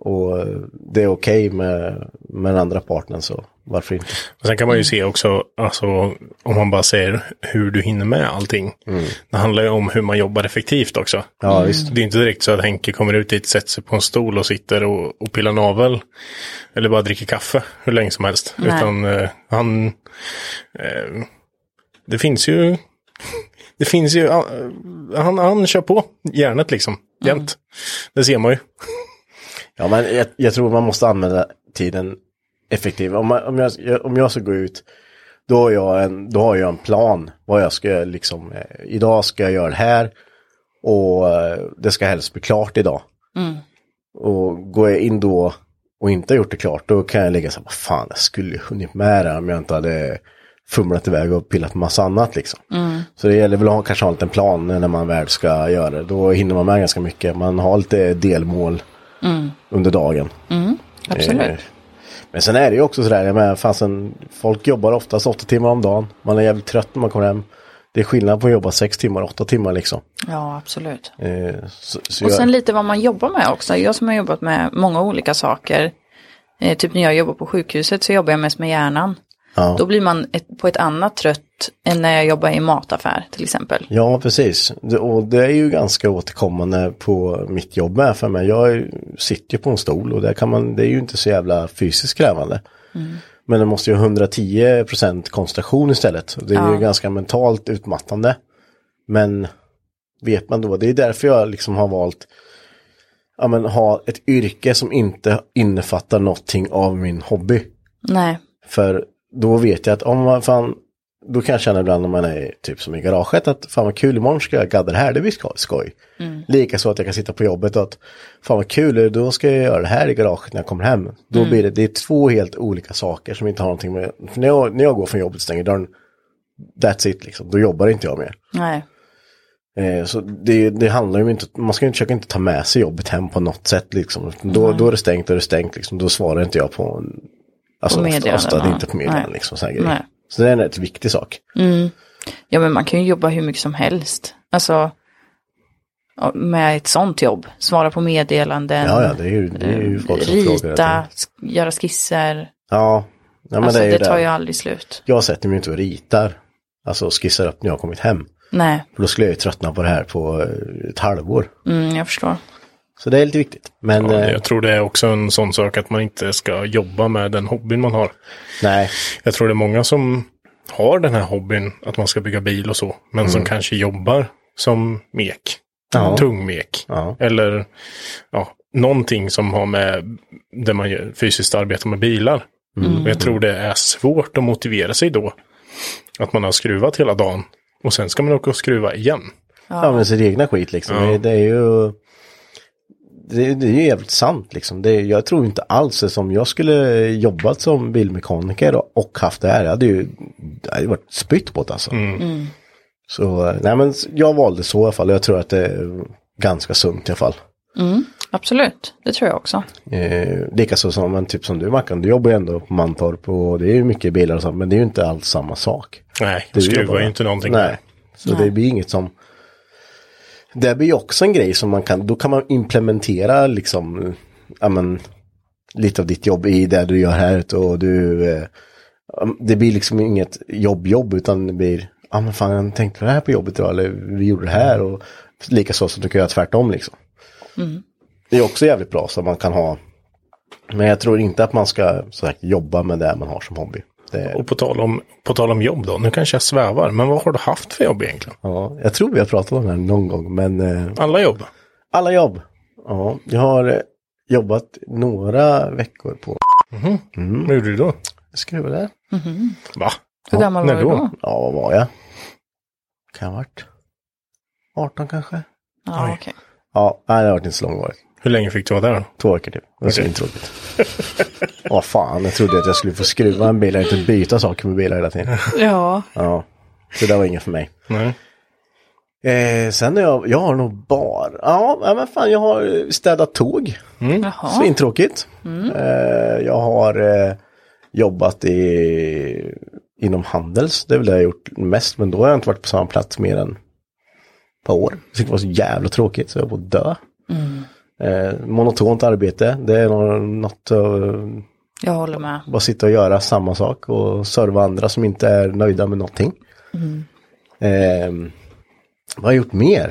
och det är okej med med den andra partnern så varför inte? Och sen kan man ju se också, alltså, om man bara säger hur du hinner med allting. Det handlar ju om hur man jobbar effektivt också. Mm. Ja, visst. Det är inte direkt så att Henke kommer ut dit, sätter sig på en stol och sitter och, och pillar navel. Eller bara dricker kaffe hur länge som helst. Nej. Utan eh, han... Eh, det finns ju... Det finns ju... eh, Han, han kör på järnet liksom. Jämt. Det ser man ju. Ja, men jag, jag tror man måste använda tiden effektivt. Om, man- om, jag, om jag ska gå ut, då har jag en, då har jag en plan. Vad jag ska liksom, eh, idag ska jag göra det här och eh, det ska helst bli klart idag. Och går jag in då och inte har gjort det klart, då kan jag lägga så här, vad fan, jag skulle ju hunnit med det här om jag inte hade fumlat iväg och pillat med massa annat liksom. Så det gäller väl att ha, kanske ha en liten plan när man väl ska göra det. Då hinner man med ganska mycket. Man har lite delmål under dagen. Eh, Absolut. Men sen är det ju också sådär, jag menar, fasen, folk jobbar oftast åtta timmar om dagen. Man är jävligt trött när man kommer hem. Det är skillnad på att jobba sex timmar, åtta timmar liksom. Ja, absolut. Eh, så, så Och jag- sen lite vad man jobbar med också. Jag som har jobbat med många olika saker. Eh, typ när jag jobbar på sjukhuset så jobbar jag mest med hjärnan. Ja. Då blir man ett, på ett annat trött än när jag jobbar i mataffär till exempel. Ja, precis. Det, och det är ju ganska återkommande på mitt jobb med. För mig. Jag är- sitter ju på en stol och där kan man, det är ju inte så jävla fysiskt krävande. Men det måste ju ha 110% koncentration istället. Det är ju ganska mentalt utmattande. Men vet man då, det är därför jag liksom har valt ja, men, ha ett yrke som inte innefattar någonting av min hobby. Nej, För då vet jag att om man fan, då kan jag känna ibland när man är typ som i garaget att fan vad kul, imorgon ska jag gadda det här, det blir sko- skoj. Likaså att jag kan sitta på jobbet och att fan vad kul, då ska jag göra det här i garaget när jag kommer hem. Då blir det, det är två helt olika saker som inte har någonting med, för när jag, när jag går från jobbet och stänger dörren, that's it liksom, då jobbar inte jag mer. nej, Eh, så det, det handlar ju inte, man ska ju försöka inte ta med sig jobbet hem på något sätt liksom. Då, då är det stängt, då är det stängt liksom, då svarar inte jag på, en- alltså På ofta, meddelanden, ofta va? inte på meddelanden Nej. liksom. såna här grejer. nej. Så det är en rätt viktig sak. Ja, men man kan ju jobba hur mycket som helst. Alltså, ja, med ett sånt jobb. Svara på meddelanden. Ja, ja, det är ju, det är ju folk som frågar. Rita, det. sk- göra skisser. Ja, ja men alltså det är det, ju tar det. ju Jag... aldrig slut. sätter mig ju inte och ritar. Alltså och skissar upp när jag har kommit hem. Nej, För då skulle jag ju tröttna på det här på eh, ett halvår. mm, jag förstår. Så det är lite viktigt. Men Ja, eh, Jag tror det är också en sån sak att man inte ska jobba med den hobbyn man har. nej, Jag tror det är många som har den här hobbyn att man ska bygga bil och så, men som kanske jobbar som mek. Mm. Ja. Tung mek. Ja. Eller ja, någonting som har med där man gör, fysiskt arbetar med bilar. Mm. Och jag tror det är svårt att motivera sig då. Att man har skruvat hela dagen och sen ska man åka och skruva igen. ja, men sin egna skit liksom. Det, det är ju... Det, det är ju jävligt sant liksom. Det, är- jag tror inte alls det som jag skulle jobbat som bilmekaniker och- och haft det här. Jag hade ju det hade ju varit spytt på det alltså. Så eh, nej men jag valde så i alla fall. Jag tror att det är ganska sunt i alla fall. Absolut, det tror jag också. Eh, Likaså som men typ som du Mackan, du jobbar ju ändå på Mantorp och det är ju mycket bilar och sånt. Men det är ju inte alls samma sak. Nej, Du jobbar skruva är med. ju inte någonting. Nej. Så det blir inget som... Det blir ju också en grej som man kan, då kan man implementera liksom, ja men, lite av ditt jobb i det du gör här ute och du, eh, det blir liksom inget jobb-jobb utan det blir, ja men fan jag tänkte på det här på jobbet idag eller vi gjorde det här och likaså så du kan göra tvärtom liksom. Det är också jävligt bra så man kan ha, men jag tror inte att man ska som sagt, jobba med det man har som hobby. Det, Och på tal, om, på tal om jobb då, nu kanske jag svävar, men vad har du haft för jobb egentligen? Ja, jag tror vi har pratat om det här någon gång, men eh, Alla jobb? alla jobb. Ja, jag har eh, jobbat några veckor på Mm. Vad gjorde du då? skruva där. Va? Hur gammal när var du då? Ja, vad var jag? Kan jag ha varit 18 kanske? Ja, Oj. okej. Ja, nej, det har varit inte så långvarigt. Hur länge fick du vara där då? Två veckor typ. Det var så Okej. intråkigt. Vad fan, jag trodde att jag skulle få skruva en bil och inte byta saker med bilar hela tiden. Ja, Ja, så det var inget för mig. Nej. Eh, sen har jag, jag har nog bara, ja nej, men fan jag har städat tåg. jaha. Svintråkigt. Eh, jag har eh, jobbat i, inom Handels. Det är väl det jag har gjort mest. Men då har jag inte varit på samma plats mer än ett par år. Jag tyckte det var så jävla tråkigt så jag var dö. Eh, monotont arbete. Det är nog något av Jag håller med. Bara sitta och göra samma sak och serva andra som inte är nöjda med någonting. Mm. Ehm, vad har jag gjort mer?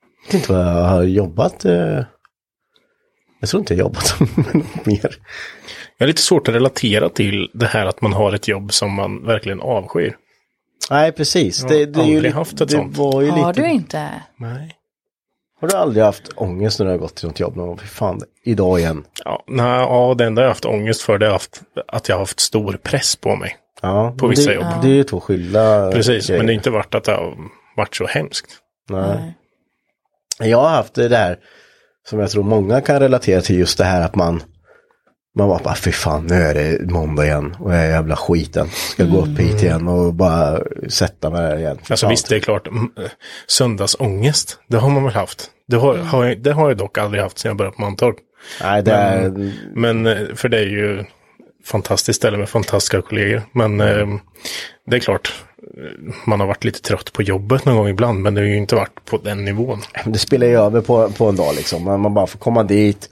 Jag vet inte vad jag har jobbat. Eh, jag tror inte jag har jobbat med något mer. Jag har lite svårt att relatera till det här att man har ett jobb som man verkligen avskyr. Nej, precis. Jag har det, det är ju aldrig lite- haft ett det sånt. Var ju Har lite, du inte? Nej. har du aldrig haft ångest när du har gått till något jobb? Någon, fy fan, idag igen. Ja, nej, ja, det enda jag har haft ångest för det är haft, att jag har haft stor press på mig. Ja, På vissa det, jobb. Det är ju två skilda Precis, grejer. men det har inte varit att det har varit så hemskt. Nej. Jag har haft det där som jag tror många kan relatera till just det här att man man bara, bara fy fan nu är det måndag igen och jag är jävla skiten. Ska gå upp hit igen och bara sätta mig där igen. Fy Alltså fan. visst, det är klart, m- eh, söndagsångest, det har man väl haft. Det har, har jag, det har jag dock aldrig haft sedan jag började på Mantorp. Nej, det är, Men eh, för det är ju fantastiskt ställe med fantastiska kollegor. Men eh, det är klart, eh, man har varit lite trött på jobbet någon gång ibland, men det har ju inte varit på den nivån. det spelar ju över på, på en dag liksom. Man, man bara får komma dit.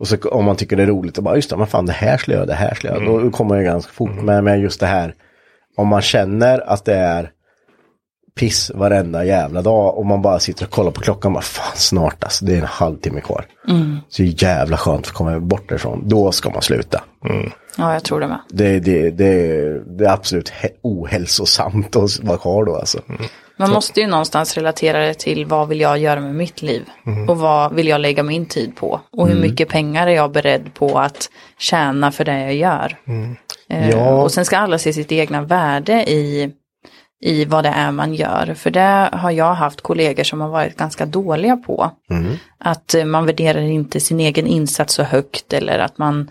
Och så om man tycker det är roligt och bara just det, men fan det här skulle jag, det här skulle jag. Då kommer jag ganska fort. Men, men just det här, om man känner att det är piss varenda jävla dag och man bara sitter och kollar på klockan bara fan snart alltså, det är en halvtimme kvar. Så jävla skönt att komma bort därifrån. Då ska man sluta. Ja, jag tror det med. Det, det, det, det är absolut he- ohälsosamt att vara kvar då alltså. Man måste ju någonstans relatera det till vad vill jag göra med mitt liv och vad vill jag lägga min tid på och hur mycket pengar är jag beredd på att tjäna för det jag gör. Eh, Ja. Och sen ska alla se sitt egna värde i, i vad det är man gör. För det har jag haft kollegor som har varit ganska dåliga på. Mm. Att eh, man värderar inte sin egen insats så högt eller att man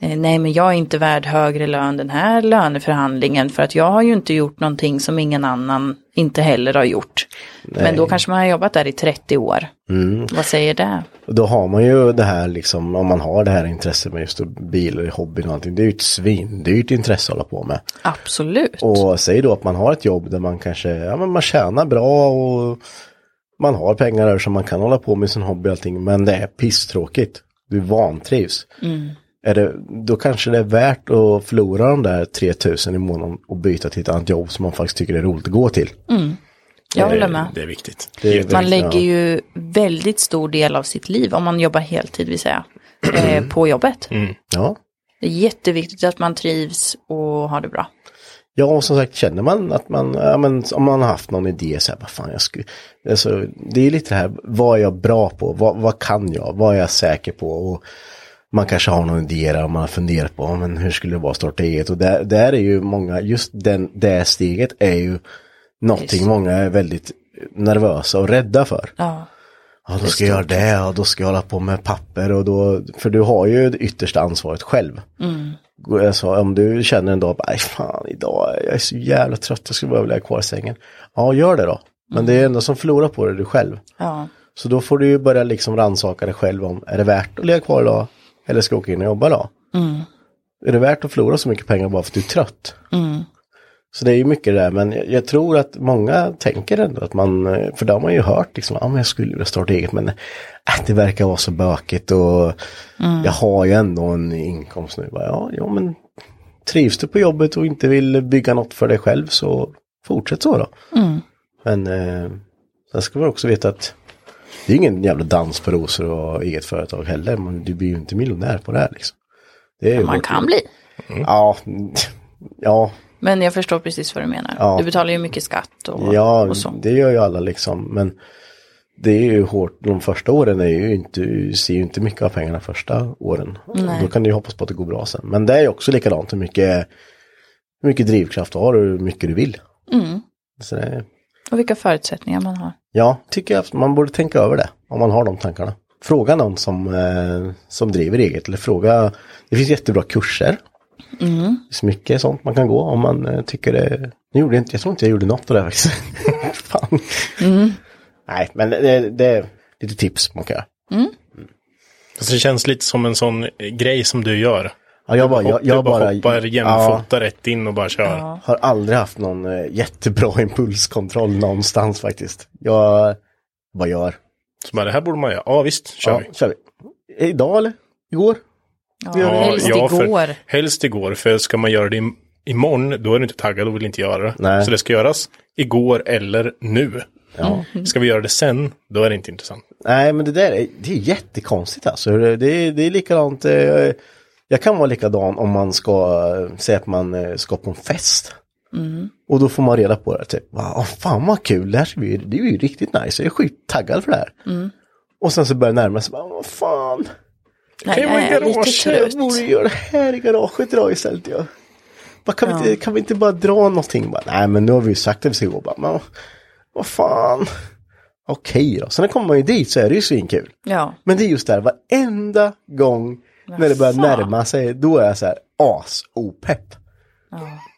eh, Nej men jag är inte värd högre lön den här löneförhandlingen för att jag har ju inte gjort någonting som ingen annan inte heller har gjort. Men då kanske man har jobbat där i 30 år. Mm. Vad säger det? Och Då har man ju det här liksom, om man har det här intresset med just bil och hobbyn och allting. Det är ju ett svindyrt intresse att hålla på med. Absolut. Och säg då att man har ett jobb där man kanske, ja men man tjänar bra och man har pengar över som man kan hålla på med sin hobby och allting. Men det är pisstråkigt. Du vantrivs. Mm. Är det, då kanske det är värt att förlora de där 3000 i månaden och byta till ett annat jobb som man faktiskt tycker är roligt att gå till. jag håller Eh, med. Det är viktigt. Det är- Man ja. lägger ju väldigt stor del av sitt liv, om man jobbar heltid vill säga, eh, på jobbet. Ja. Det är jätteviktigt att man trivs och har det bra. Ja, och som sagt känner man att man, ja, men, om man har haft någon idé så här, vad fan jag skulle, alltså, det är lite det här, vad är jag bra på, vad, vad kan jag, vad är jag säker på och man kanske har någon idé där och man har funderat på, ja, men hur skulle det vara att starta eget och där, där är ju många, just den, det steget är ju någonting Just. många är väldigt nervösa och rädda för. Ja, Ja, då ska jag göra det och då ska jag hålla på med papper och då, för du har ju det yttersta ansvaret själv. Mm. Alltså, om du känner en dag, nej fan idag, jag är så jävla trött, jag skulle bara vilja ligga kvar i sängen. Ja, gör det då. Men det är enda som förlorar på det är du själv. ja. Så då får du ju börja liksom rannsaka dig själv om, är det värt att ligga kvar idag? Eller ska jag åka in och jobba idag? Är det värt att förlora så mycket pengar bara för att du är trött? Mm. Så det är ju mycket det där, men jag, jag tror att många tänker ändå att man, eh, för det har man ju hört liksom, ja men jag skulle vilja starta eget men äh, det verkar vara så bökigt och Mm. jag har ju ändå en inkomst nu. Bara, ja, ja, men trivs du på jobbet och inte vill bygga något för dig själv så fortsätt så då. Mm. Men eh, sen ska man också veta att det är ingen jävla dans på rosor och eget företag heller. Man, du blir ju inte miljonär på det här liksom. Det är ju Man hårt kan jobb. bli. Ja, ja, Men jag förstår precis vad du menar. Ja. Du betalar ju mycket skatt och, ja och så. det gör ju alla liksom. Men det är ju hårt. De första åren är ju inte, du ser ju inte mycket av pengarna första åren. Nej. Då kan du ju hoppas på att det går bra sen. Men det är ju också likadant hur mycket, hur mycket drivkraft du har och hur mycket du vill. Mm. Så det, Och vilka förutsättningar man har. ja, tycker jag att man borde tänka över det. Om man har de tankarna. Fråga någon som, eh, som driver eget. Eller fråga, det finns jättebra kurser. Det finns mycket sånt man kan gå om man eh, tycker det. Nu gjorde jag, inte, jag tror inte jag gjorde något av det här faktiskt. Fan. Nej, men det, det är lite tips man kan göra. Alltså, det känns lite som en sån eh, grej som du gör. Ja, jag bara, jag, du bara, jag bara, hoppar ja, jämfota rätt in och bara kör. har aldrig haft någon eh, jättebra impulskontroll någonstans faktiskt. Jag bara gör. Så bara, det här borde man göra. Ja, visst, kör Ja, vi. kör vi. Idag eller? Igår? Gör det. helst igår. För, helst igår, för ska man göra det im- imorgon, då är du inte taggad och vill inte göra det. Nej. Så det ska göras igår eller nu. Ska vi göra det sen, då är det inte intressant. Nej, men det där är, det är jättekonstigt alltså. Det, det, är- det är likadant. Eh, jag kan vara likadan om man ska eh, säga att man eh, ska på en fest. Och då får man reda på det. Typ, wow, fan vad kul, det här ska vi, det är ju riktigt nice. Jag är skittaggad för det här. Och sen så börjar det närma sig. bara, Vad fan, Nej, Kan jag man är garage- lite jag trött. borde göra det här i garaget idag istället. Ja. Bara, kan, vi inte, kan vi inte bara dra någonting? Bara, Nej, men nu har vi ju sagt att vi ska gå. Bara, men, vad fan. Okej då. Sen när kommer man ju dit så är det ju svinkul. Ja. Men det är just där varenda gång när det börjar närma sig, då är jag så här as-opepp.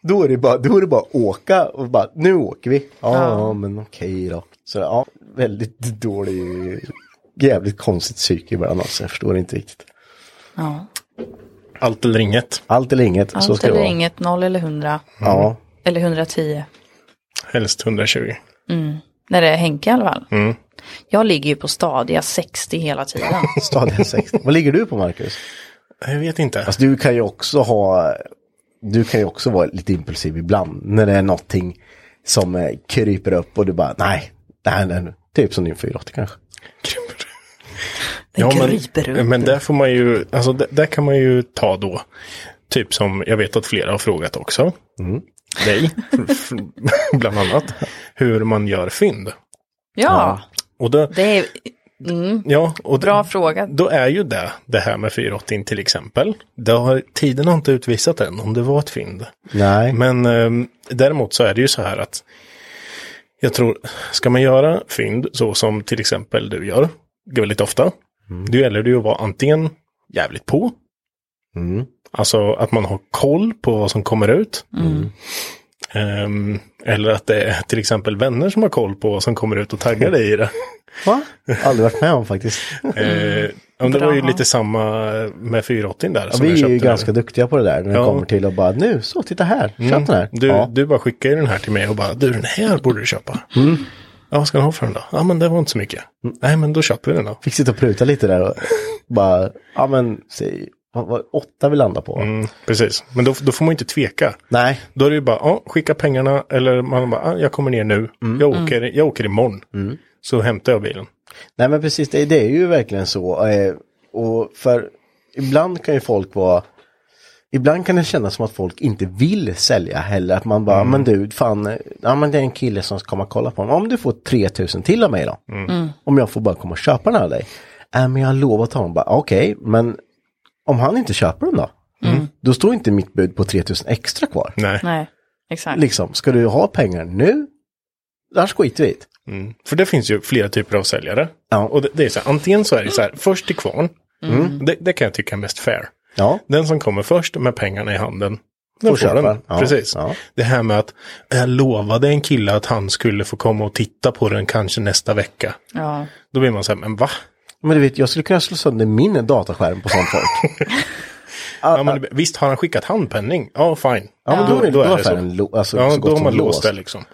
Då är, det bara, då är det bara att åka och bara, nu åker vi. Ja, men okej då. Så ja, väldigt dålig, jävligt konstigt psyke ibland alltså, jag förstår inte riktigt. ja. Allt eller inget. Allt eller inget, så Allt ska det eller vara. inget, noll eller hundra. Ja, Eller 110. Helst 120. När det är Henke i alla fall. Mm. Jag ligger ju på stadiga 60 hela tiden. stadiga 60. Vad ligger du på Marcus? Jag vet inte. Alltså du kan ju också ha, du kan ju också vara lite impulsiv ibland när det är någonting som eh, kryper upp och du bara nej, nej, nej, nej. typ som din 480 kanske. Ja, kryper upp. men, men där får man ju, alltså där, där kan man ju ta då, typ som jag vet att flera har frågat också, dig, bland annat, hur man gör fynd. ja, Och då, det är ja, och bra fråga. Då är ju det, det här med 480 till exempel, det har, tiden har inte utvisat än om det var ett fynd. Nej, Men ehm, däremot så är det ju så här att jag tror, ska man göra fynd så som till exempel du gör väldigt ofta, Mm. då gäller det ju att vara antingen jävligt på, Mm. alltså att man har koll på vad som kommer ut, Mm. Ehm, eller att det är till exempel vänner som har koll på vad som kommer ut och taggar dig i det. va? Aldrig varit med om faktiskt. Eh, om det Bra. var ju lite samma med 480 där. Ja, som jag vi är ju köpte ganska duktiga på det där när det Ja. kommer till att bara nu, så titta här, köp den här. Du, ja. du bara skickar ju den här till mig och bara, du den här borde du köpa. Mm. Ja, vad ska den ha för den då? Ja, men det var inte så mycket. Nej, men då köper vi den då. Fick sitta och pruta lite där och bara, ja men, säg, vad, vad, åtta vi landar på. Mm, precis, men då, då får man ju inte tveka. Nej, Då är det ju bara, ja, skicka pengarna eller man bara, ja, jag kommer ner nu. Mm. Jag, åker, jag åker imorgon. Så hämtar jag bilen. Nej men precis, det, det är ju verkligen så. Eh, Och för ibland kan ju folk vara Ibland kan det kännas som att folk inte vill sälja heller. Att man bara, men du, fan, eh, ja men det är en kille som ska komma och kolla på mig. Om du får 3000 till av mig då? Om jag får bara komma och köpa den här av dig? Äh, men jag har lovat honom, bara okej, men om han inte köper den då? Då står inte mitt bud på 3000 extra kvar. Nej. Nej, exakt. Liksom, ska du ha pengar nu? Annars skiter vi i det. Mm. För det finns ju flera typer av säljare. Ja. Mm. Och det, det är så här, antingen så är det så här, först till kvarn. Det, det kan jag tycka är mest fair. Ja. Den som kommer först med pengarna i handen. Den får köpa. den. Ja, Precis. ja. Det här med att jag lovade en kille att han skulle få komma och titta på den kanske nästa vecka. Ja. Då blir man så här, men va? Men du vet, jag skulle kunna slå sönder min dataskärm på sånt folk. Ja, men, visst har han skickat handpenning? Ja, fine. Ja, men då, är, då är det affären så. lo- alltså, Ja, så då gott har som man låst låst. det liksom.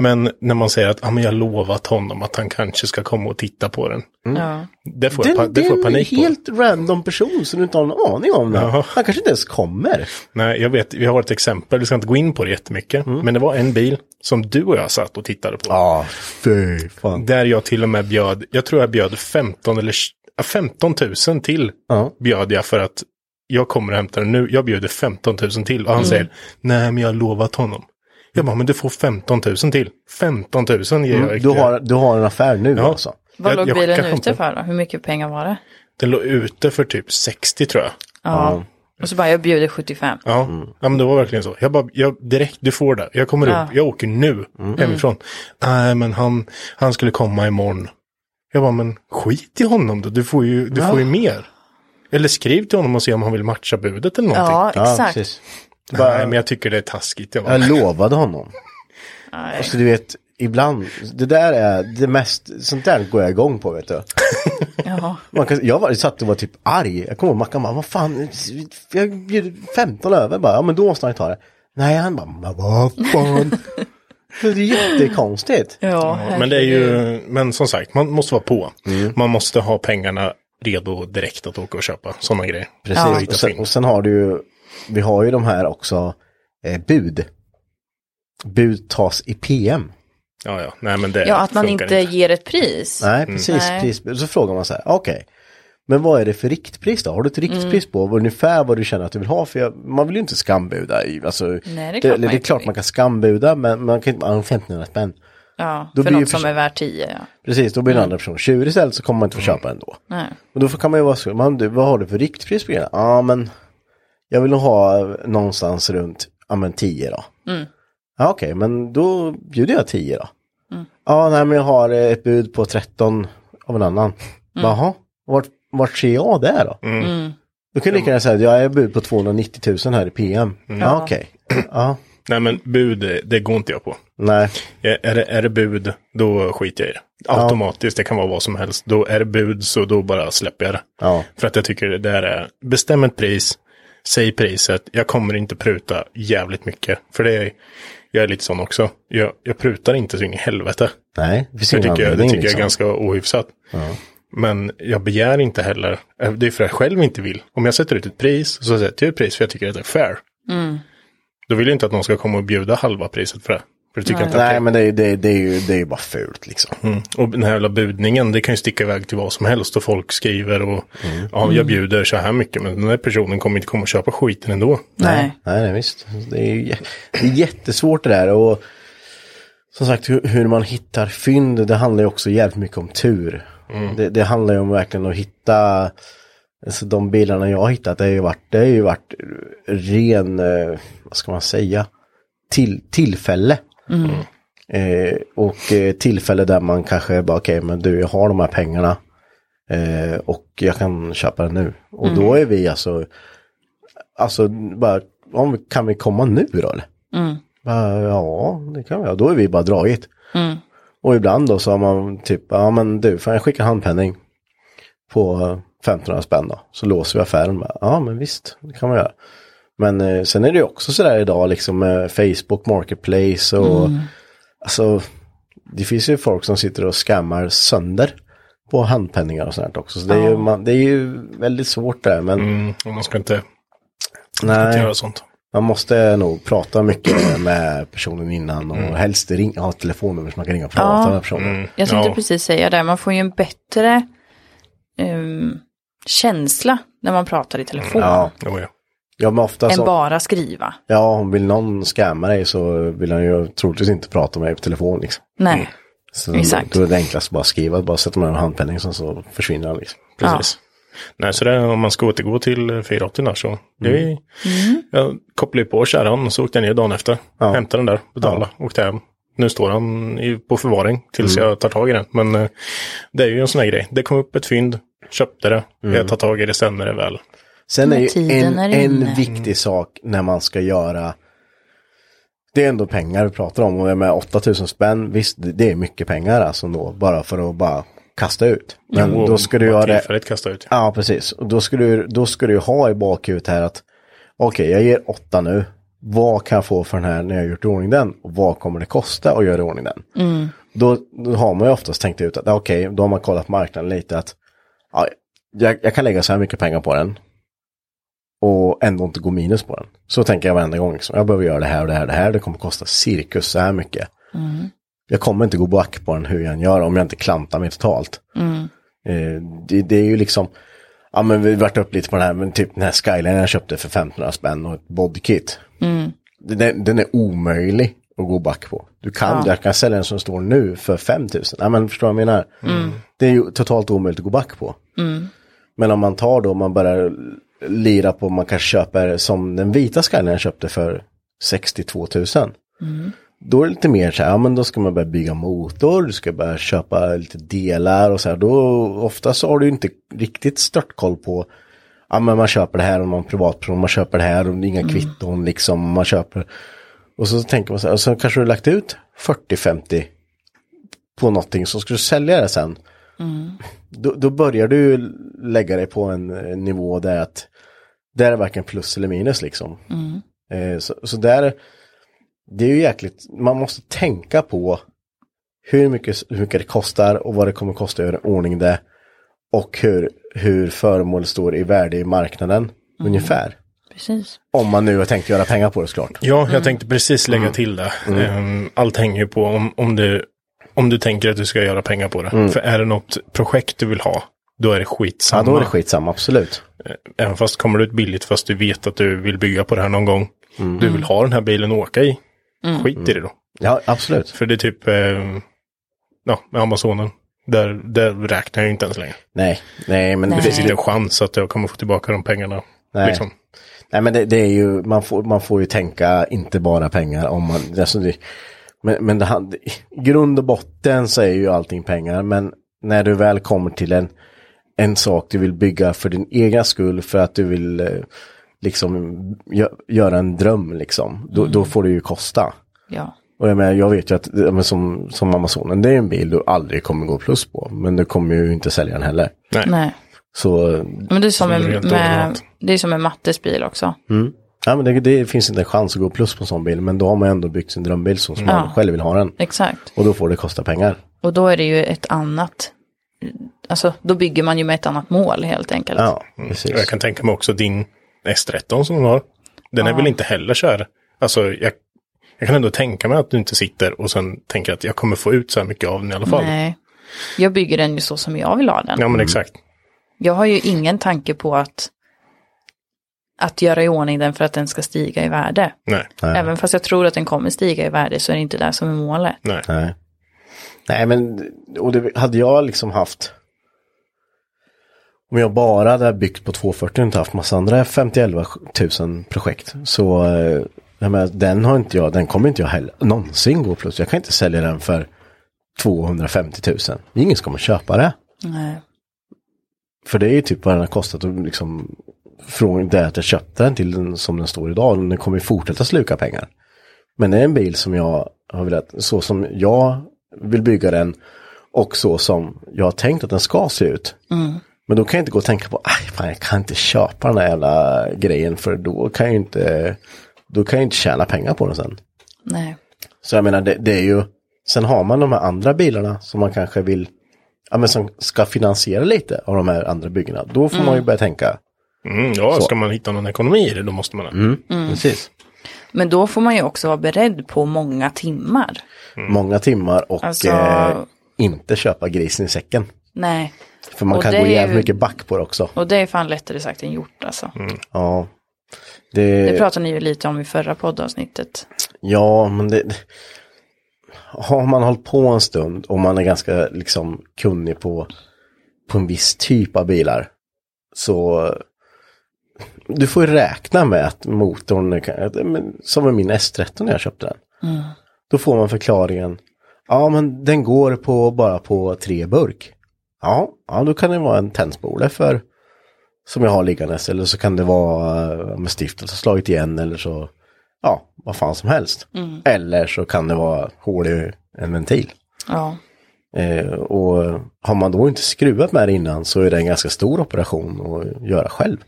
Men när man säger att ja, men jag har lovat honom att han kanske ska komma och titta på den. Ja. Det får Mm. jag, pa- Den, det det får jag är en panik på. helt random person som du inte har någon aning om. Ja. Han kanske inte ens kommer. Nej, jag vet, vi har ett exempel, vi ska inte gå in på det jättemycket. Mm. Men det var en bil som du och jag satt och tittade på. Ja, fy fan. Där jag till och med bjöd, jag tror jag bjöd 15 eller tj- ja, 15 000 till Ja. bjöd jag för att jag kommer och hämtar den nu. Jag bjuder 15 000 till Mm. och han säger nej men jag har lovat honom. Jag bara men du får 15 000 till. 15 000 ger jag. Mm, Du har, du har en affär nu alltså. Vad Jag- låg jag bilen skickar ute skämten. för då? Hur mycket pengar var det? Den låg ute för typ 60 tror jag. Ja. Och så bara, jag bjuder 75. Ja, ja men det var verkligen så. Jag bara, jag, direkt, du får det. Jag kommer upp, jag åker nu hemifrån. Nej, men han, han skulle komma imorgon. Jag bara, men skit i honom då, du får ju, du får ju mer. Eller skriv till honom och se om han vill matcha budet eller någonting. Ja, exakt. precis. Nej, men jag tycker det är taskigt. Jag bara, Jag lovade honom. Nej. Alltså du vet, ibland, det där är det mest, sånt där går jag igång på vet du. Ja. Man kan, jag var, satt och var typ arg. Jag kommer ihåg Mackan bara, vad fan, jag bjuder 15 över bara, ja men då måste han ju ta det. Nej, han bara, men vad fan. det är jättekonstigt. Ja, Mm. men det är ju, men som sagt, man måste vara på. Man måste ha pengarna redo direkt att åka och köpa sådana grejer. Precis, Och och, hitta sen, fynd. och sen har du ju, vi har ju de här också, eh, bud. Bud tas i PM. Ja, ja. Nej, men det Ja, att man funkar inte, ger ett pris. Nej, precis. Nej. Prisbud. Så frågar man så här, okej. Men vad är det för riktpris då? Har du ett Mm. riktpris på ungefär vad du känner att du vill ha? För jag, man vill ju inte skambuda. i- Alltså, det är klart eller man det är inte klart vill. man kan skambuda, men man kan inte, ja, 1500 spänn. Ja, Då för blir ju något som förs- är värt 10. Ja. Precis, då blir Mm. den andra personen tjurig istället så kommer man inte få köpa ändå. Nej. Och då får- kan man ju vara så, man, du, vad har du för riktpris på grejerna? Ja men, jag vill nog ha någonstans runt, ja men 10 då. Ja okej, men då bjuder jag 10 då. Ja nej men jag har eh, ett bud på 13 av en annan. Jaha, vart, vart ser jag det då? Mm. Då kan jag lika gärna säga att jag är bud på 290 000 här i PM. Mm. Ja okej, ja, Nej, men bud, eh, det går inte jag på. nej. Ja, Är det, är det bud, då skiter jag i det. Automatiskt, det kan vara vad som helst. Då är det bud, så då bara släpper jag det. Ja. För att jag tycker det där är, bestäm ett pris, säg priset, jag kommer inte pruta jävligt mycket. För det är, jag är lite sån också. Jag, jag prutar inte så in i helvete. Nej, det finns Det ingen tycker, jag, det anledning, tycker jag är liksom. ganska ohyfsat. Men jag begär inte heller, eh, det är för att jag själv inte vill. Om jag sätter ut ett pris, så sätter jag ett pris för jag tycker att det är fair. Då vill jag inte att någon ska komma och bjuda halva priset för det. För det tycker jag inte att det Nej men det, är- det, är- det, är ju, det är ju bara fult liksom. Mm. Och den här jävla budningen, det kan ju sticka iväg till vad som helst och folk skriver och Mm. ja, jag bjuder så här mycket men den här personen kommer inte komma och köpa skiten ändå. Nej. Nej, nej visst. Det är, ju, jä- det är jättesvårt det där. Och som sagt, hur, hur man hittar fynd, det handlar ju också jävligt mycket om tur. Det, det handlar ju om verkligen att hitta, alltså de bilarna jag har hittat, det har ju varit, det har ju varit ren, eh, vad ska man säga, till, tillfälle. Eh, och eh, tillfälle där man kanske bara, okej, men du, jag har de här pengarna. Eh, och jag kan köpa den nu. Och då är vi alltså, alltså bara, om, vi- kan vi komma nu då eller? Bara, ja, det kan vi. Och då är vi bara dragit. Och ibland då så har man typ, ja men du, får jag skicka handpenning på eh, 1500 spänn då? Så låser vi affären med. Ja men visst, det kan man göra. Men eh, sen är det ju också sådär idag liksom med Facebook Marketplace och alltså det finns ju folk som sitter och skammar sönder på handpenningar och sånt här också. Så det är, ju, man, det är ju väldigt svårt där men Mm. Och man ska inte, inte nej. göra sånt. Man måste nog prata mycket med personen innan och Mm. helst ring, ha ett telefonnummer som man kan ringa och prata med personen. Jag tänkte Ja. precis säga det, man får ju en bättre ehm, känsla när man pratar i telefon. Ja, Oh, ja. ja men ofta Än så, bara skriva. ja, om vill någon skämma dig så vill han ju troligtvis inte prata med dig på telefon liksom. Nej. Så Exakt. Då är det enklast att bara skriva, bara sätta med en handpenning och sen så försvinner han liksom. Precis. Nej, så det, är- om man ska återgå till eh, 480 där så. Mm. Det är, Jag kopplade ju på kärran och så åkte jag ner dagen efter. Ja. Hämtade den där, betalade, åkte hem. Nu står han i, på förvaring tills Mm. jag tar tag i den. Men eh, det är ju en sån här grej. Det kom upp ett fynd, köpte det, Mm. jag tar tag i det sen när det är väl. Sen är Men ju tiden en, är en inne. viktig sak när man ska göra det är ändå pengar vi pratar om och jag med 8000 spänn, visst det- det är mycket pengar alltså då, bara för att bara kasta ut. Men Och då ska du bara göra det Tillfälligt kasta ut. Ja, precis. Och då ska du, då ska du ha i bakhuvudet här att okej, jag ger åtta nu. Vad kan jag få för den här när jag har gjort i ordning den? Och vad kommer det kosta att göra i ordning den? Då, då har man ju oftast tänkt ut att ja, okej, då har man kollat marknaden lite att ja, jag, jag kan lägga så här mycket pengar på den. Och ändå inte gå minus på den. Så tänker jag varenda gång. Liksom. Jag behöver göra det här och det här och det här. Det kommer kosta cirkus så här mycket. Jag kommer inte gå back på den hur jag än gör om jag inte klantar mig totalt. Eh, det, det är ju liksom, ja men vi vart upp lite på den här, men typ den här skyline jag köpte för 1500 spänn och ett bodykit. Den, den är omöjlig att gå back på. Du kan, jag kan sälja den som står nu för 5000. Ja men förstår du vad jag menar? Det är ju totalt omöjligt att gå back på. Men om man tar då, man börjar lira på, man kanske köper som den vita skyline jag köpte för 62 000. Då är det lite mer så här, ja men då ska man börja bygga motor, du ska börja köpa lite delar och så här. Då ofta så har du ju inte riktigt störtkoll på, ja men man köper det här och någon privatperson, man köper det här och det är inga kvitton liksom, man köper. Och så tänker man så här, och så kanske du har lagt ut 40-50 på någonting, så ska du sälja det sen då, då börjar du lägga dig på en eh, nivå där att där är varken plus eller minus liksom. Eh, så, så där, det är ju jäkligt, man måste tänka på hur mycket, hur mycket det kostar och vad det kommer kosta att göra i ordning det. och hur, hur föremål står i värde i marknaden ungefär. Precis. Om man nu har tänkt göra pengar på det såklart. Ja, jag tänkte precis lägga Mm. till det. Ehm, Allt hänger ju på om, om, du, om du tänker att du ska göra pengar på det. Mm. För är det något projekt du vill ha, då är det skitsamma. Ehm, Ja, då är det skitsamma, absolut. Även fast kommer det ut billigt fast du vet att du vill bygga på det här någon gång. Mm. Du vill ha den här bilen och åka i. Skit i det då. Ja, absolut. För det är typ, ehm, ja, med Amazonen. Där, där räknar jag ju inte ens längre. Nej, nej, men Det finns det, inte en chans att jag kommer få tillbaka de pengarna. Nej. Liksom. nej, men det, det är ju, man får, man får ju tänka inte bara pengar om man, alltså det, men, men det, han- i grund och botten så är ju allting pengar, men när du väl kommer till en, en sak du vill bygga för din egen skull, för att du vill eh, liksom gö, göra en dröm liksom, då, då får det ju kosta. Ja. Och jag, menar, jag vet ju att ja, men som, som Amazonen, det är en bil du aldrig kommer gå plus på. Men du kommer ju inte sälja den heller. Nej. Så Men det är som Det är med, rent med, överallt. det är som med Mattes bil också. ja, men det, det finns inte en chans att gå plus på en sån bil. Men då har man ju ändå byggt sin drömbil så som man Ja. själv vill ha den. Exakt. Och då får det kosta pengar. Och då är det ju ett annat, alltså då bygger man ju med ett annat mål helt enkelt. Ja, precis. Och Jag kan tänka mig också din S13 som hon har. Den är väl inte heller så här. Alltså jag, jag kan ändå tänka mig att du inte sitter och sen tänker att jag kommer få ut så här mycket av den i alla fall. Nej. Jag bygger den ju så som jag vill ha den. Ja men exakt. Jag har ju ingen tanke på att, att göra i ordning den för att den ska stiga i värde. Nej. Även fast jag tror att den kommer stiga i värde så är det inte det som är målet. Nej. Nej. Nej, men och det, hade jag liksom haft. Om jag bara hade byggt på 240 och inte haft massa andra 50 000 projekt. Så eh, jag menar, den har inte jag, den kommer inte jag heller någonsin gå plus. Jag kan inte sälja den för 250 000. Ingen ska man köpa det. Nej. För det är ju typ vad den har kostat och liksom från det att jag köpte den till den som den står idag. Den kommer ju fortsätta sluka pengar. Men det är en bil som jag har velat, så som jag vill bygga den och så som jag har tänkt att den ska se ut. Men då kan jag inte gå och tänka på, aj fan jag kan inte köpa den här jävla grejen för då kan jag ju inte, då kan jag ju inte tjäna pengar på den sen. Nej. Så jag menar, det, det är ju, sen har man de här andra bilarna som man kanske vill, ja men som ska finansiera lite av de här andra byggena. Då får man ju börja tänka. Mm, ja, Så. ska man hitta någon ekonomi i det då måste man det. Mm. Precis. Men då får man ju också vara beredd på många timmar. Många timmar och Alltså- eh, inte köpa grisen i säcken. Nej. För man Och kan det gå är ju- jävligt mycket back på det också. Och det är fan lättare sagt än gjort alltså. Mm. Ja. Det, Det pratade ni ju lite om i förra poddavsnittet. ja, men det... det- Har man hållit på en stund och man är ganska liksom kunnig på, på en viss typ av bilar. Så du får ju räkna med att motorn, är kan- att- men som med min S13 när jag köpte den. Då får man förklaringen, ja men den går på bara på tre burk. Ja, ja då kan det vara en tändspole för som jag har liggandes eller så kan det vara eh, med stiftet som slagit igen eller så, ja vad fan som helst. Eller så kan det vara hål i en ventil. Ja. Eh, och har man då inte skruvat med det innan så är det en ganska stor operation att göra själv.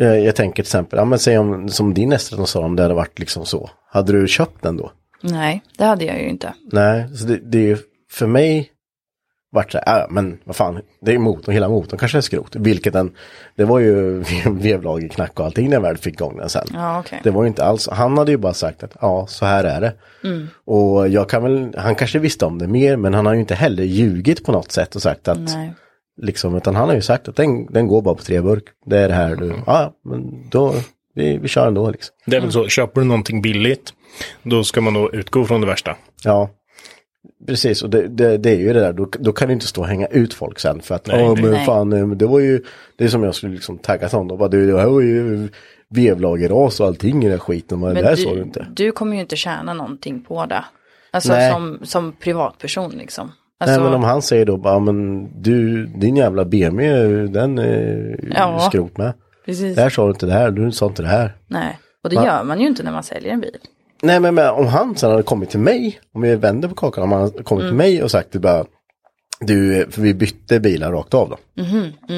Eh, jag tänker till exempel, ja, men säg om, som din Estrid sa, om det hade varit liksom så. Hade du köpt den då? Nej, det hade jag ju inte. Nej, så det, det är ju för mig vart så här, äh, men vad fan, det är motorn, hela motorn kanske är skrot. Vilket den, det var ju vevlagerknack och allting när jag väl fick igång den sen. Ja, okej. Det var ju inte alls, han hade ju bara sagt att ja, så här är det. Och jag kan väl, han kanske visste om det mer, men han har ju inte heller ljugit på något sätt och sagt att, Nej. liksom, utan han har ju sagt att den, den går bara på tre burk. Det är det här du, ja, men då, vi, vi kör ändå liksom. Det är väl så, köper du någonting billigt, då ska man då utgå från det värsta. Ja, precis. Och det, det, det är ju det där, då, då kan du inte stå och hänga ut folk sen för att, Nej, ja det- men Nej. fan, eh, men det var ju, det är som jag skulle liksom tagga till honom, och bara, du, det här var ju vevlagerras och allting i den här skiten, men det här sa du inte. du kommer ju inte tjäna någonting på det. Alltså Nej. som, som privatperson liksom. Alltså, Nej men om han säger då bara, men du, din jävla BMW, den är Ja. skrot med. precis. Där sa du inte det här, du sa inte det här. Nej, och det Va? gör man ju inte när man säljer en bil. Nej men, men om han sen hade kommit till mig, om vi vänder på kakan, om han hade kommit Mm. till mig och sagt det bara, du, för vi bytte bilar rakt av då. Mhm, mm.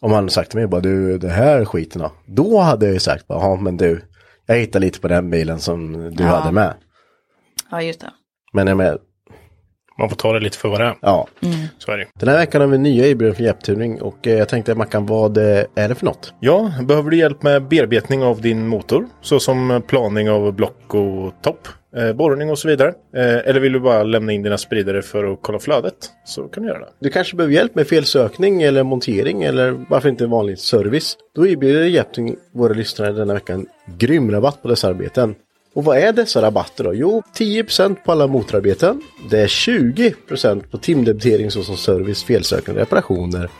Om han hade sagt till mig bara, du, det här skiten då. Då hade jag ju sagt bara, ja men du, jag hittade lite på den bilen som du hade med. Ja, just det. Men jag menar, Man får ta det lite för vad det är. Ja. Mm. Så är det ju. Den här veckan har vi nya erbjudanden från Jepptuning och eh, jag tänkte Mackan, vad eh, är det för något? Ja, behöver du hjälp med bearbetning av din motor? Såsom planing av block och topp, eh, borrning och så vidare. Eh, eller vill du bara lämna in dina spridare för att kolla flödet? Så kan du göra det. Du kanske behöver hjälp med felsökning eller montering eller varför inte vanlig service? Då erbjuder Jepptuning våra lyssnare denna veckan grym rabatt på dessa arbeten. Och vad är dessa rabatter då? Jo, 10% på alla motorarbeten. Det är 20% på timdebitering såsom service, felsökning, reparationer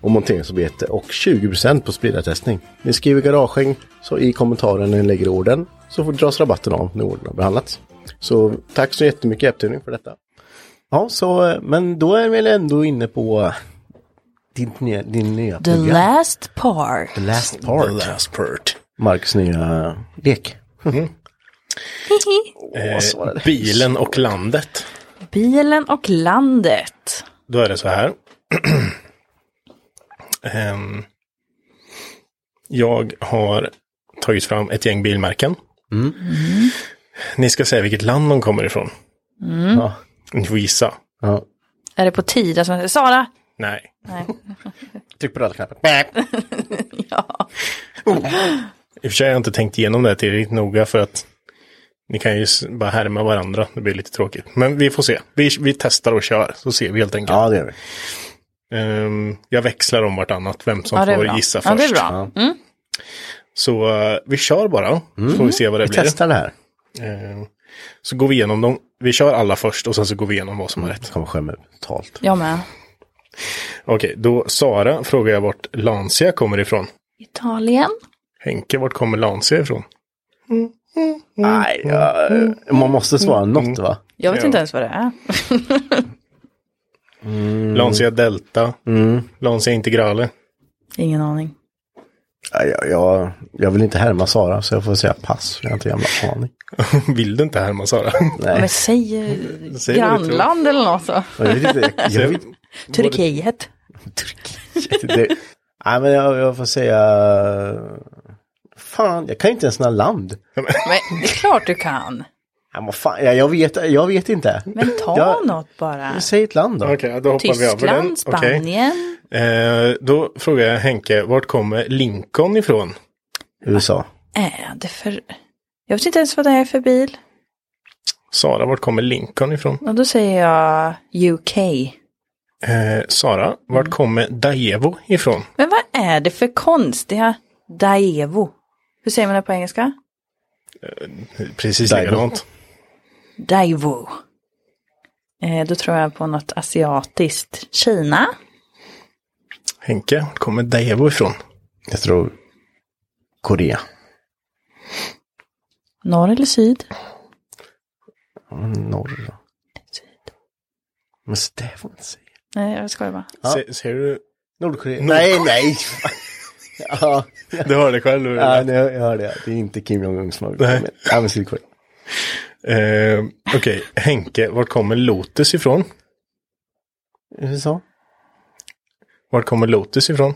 och monteringsarbete och 20% på spridartestning. Ni skriver garaging så i kommentaren när ni lägger orden så får dras rabatten av när orden har behandlats. Så tack så jättemycket Jepptuning för detta. Ja, så, eh, men då är vi väl ändå inne på eh, din, nya- din nya The last part. The last part. last part. Marks nya lek. Åh, så var det. Eh, bilen och landet. Bilen och landet. Då är det så här. Ehm, jag har tagit fram ett gäng bilmärken. Mm. Ni ska säga vilket land de kommer ifrån. Ja. Ni får gissa. Ja. Är det på Tida som heter Sara? Nej. Tryck på röda-knappen. I och för sig har jag inte tänkt igenom det här tillräckligt noga för att ni kan ju s- bara härma varandra. Det blir lite tråkigt. Men vi får se. Vi, vi testar och kör så ser vi helt enkelt. Ja, det gör vi. Ehm, jag växlar om vartannat vem som Ja, det är får bra. gissa Ja, först. det är bra. Mm. Så eh, vi kör bara. Så får vi se vad det Mm. Vi blir. testar det här. Eh, Så går vi igenom dem. Vi kör alla först och sen så går vi igenom vad som är Det rätt. kommer skämma ut totalt. Jag med. Okej, då Sara frågar jag vart Lancia kommer ifrån. Italien. Henke, vart kommer Lancia ifrån? Nej, ja, eh, man måste svara något va? Jag vet Ja. inte ens vad det är. Mm. Lancia Delta. Lancia Integrale. Ingen aning. Nej, Jag, jag, jag vill inte härma Sara så jag får säga pass. för Jag har inte en jävla aning. Vill du inte härma Sara? Men Nej, säg eh, Säg vad du tror. grannland eller något så. jag vet inte. Jag vet Turkiet. inte. Det, nej, men jag, jag får säga... Fan, jag kan inte ens några land. Men det är klart du kan. Nej, vad fan, jag, jag, vet, jag vet inte. Men ta Jag- något bara. Säg ett land då. Okej, då hoppar vi över den. Tyskland, Okej. Spanien. Eh, då frågar jag Henke, vart kommer Lincoln ifrån? USA. Är det för... Jag vet inte ens vad det är för bil. Sara, vart kommer Lincoln ifrån? Och då säger jag UK. Eh, Sara, vart kommer Daevo ifrån? Men vad är det för konstiga Daevo? Hur säger man det på engelska? Precis Daevo. likadant. Daewoo. Eh, då tror jag på något asiatiskt. Kina. Henke, vart kommer Daevo ifrån? Jag tror Korea. Norr eller syd? Norr. då. Men så det får man inte säga. Nej, jag skojar bara. Se, ser du? Nordkorea. Nej, nej. ja, Du hör det själv. hur det ja lät. nu, jag hör det. Det är inte Kim Jong-Un som har gjort det. Nej. men- Ja, men Sydkorea. Eh, Okej, Henke, vart kommer Lotus ifrån? USA. Vart kommer Lotus ifrån?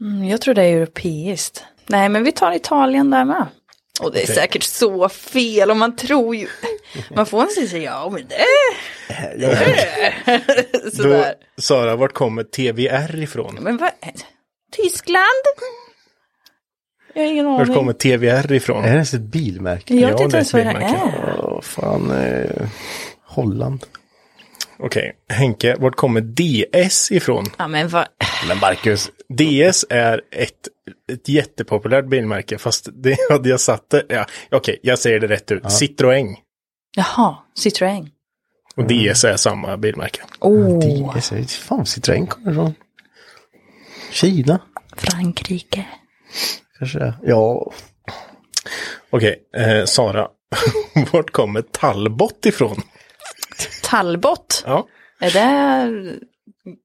Mm, jag tror det är europeiskt. Nej, men vi tar Italien där med. Och det är säkert så fel och man tror ju... Man får en sån säga ja, men det är... Då, Sådär. Sara, vart kommer TVR ifrån? Men vad är... Tyskland? Jag har ingen Vart kommer aning. TVR ifrån? Är det ens ett bilmärke? Jag vet Ja, det inte ens vad det vill man kan. är. Åh, fan. Eh, Holland. Okej, Henke, vart kommer DS ifrån? Ja, men vad... Men Marcus. DS är ett, ett jättepopulärt bilmärke, fast det hade jag satt det. Ja, Okej, jag säger det rätt ut. Citroën Jaha, Citroën. Oh, och DS är samma bilmärke. Åh, DS. Jag vet fan var Citroën kommer ifrån. Kina. Frankrike. Kanske det är. Ja. Okej, eh, Sara, vart kommer Talbot ifrån? Talbot. Ja. Är det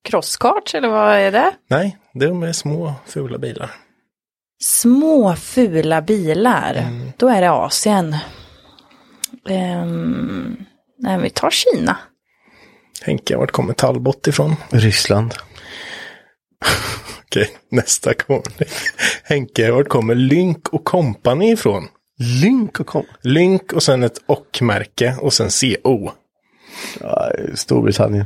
crosskart eller vad är det? Nej, de är små fula bilar. Små fula bilar. Då är det Asien. Ehm, nej, men vi tar Kina. Henke, vart kommer Talbot ifrån? Ryssland. Okej, nästa kommer. Henke, vart kommer Lynk och Company ifrån? Lynk och kom. Lynk och sen ett och-märke och sen CO. Ja, eh, Storbritannien.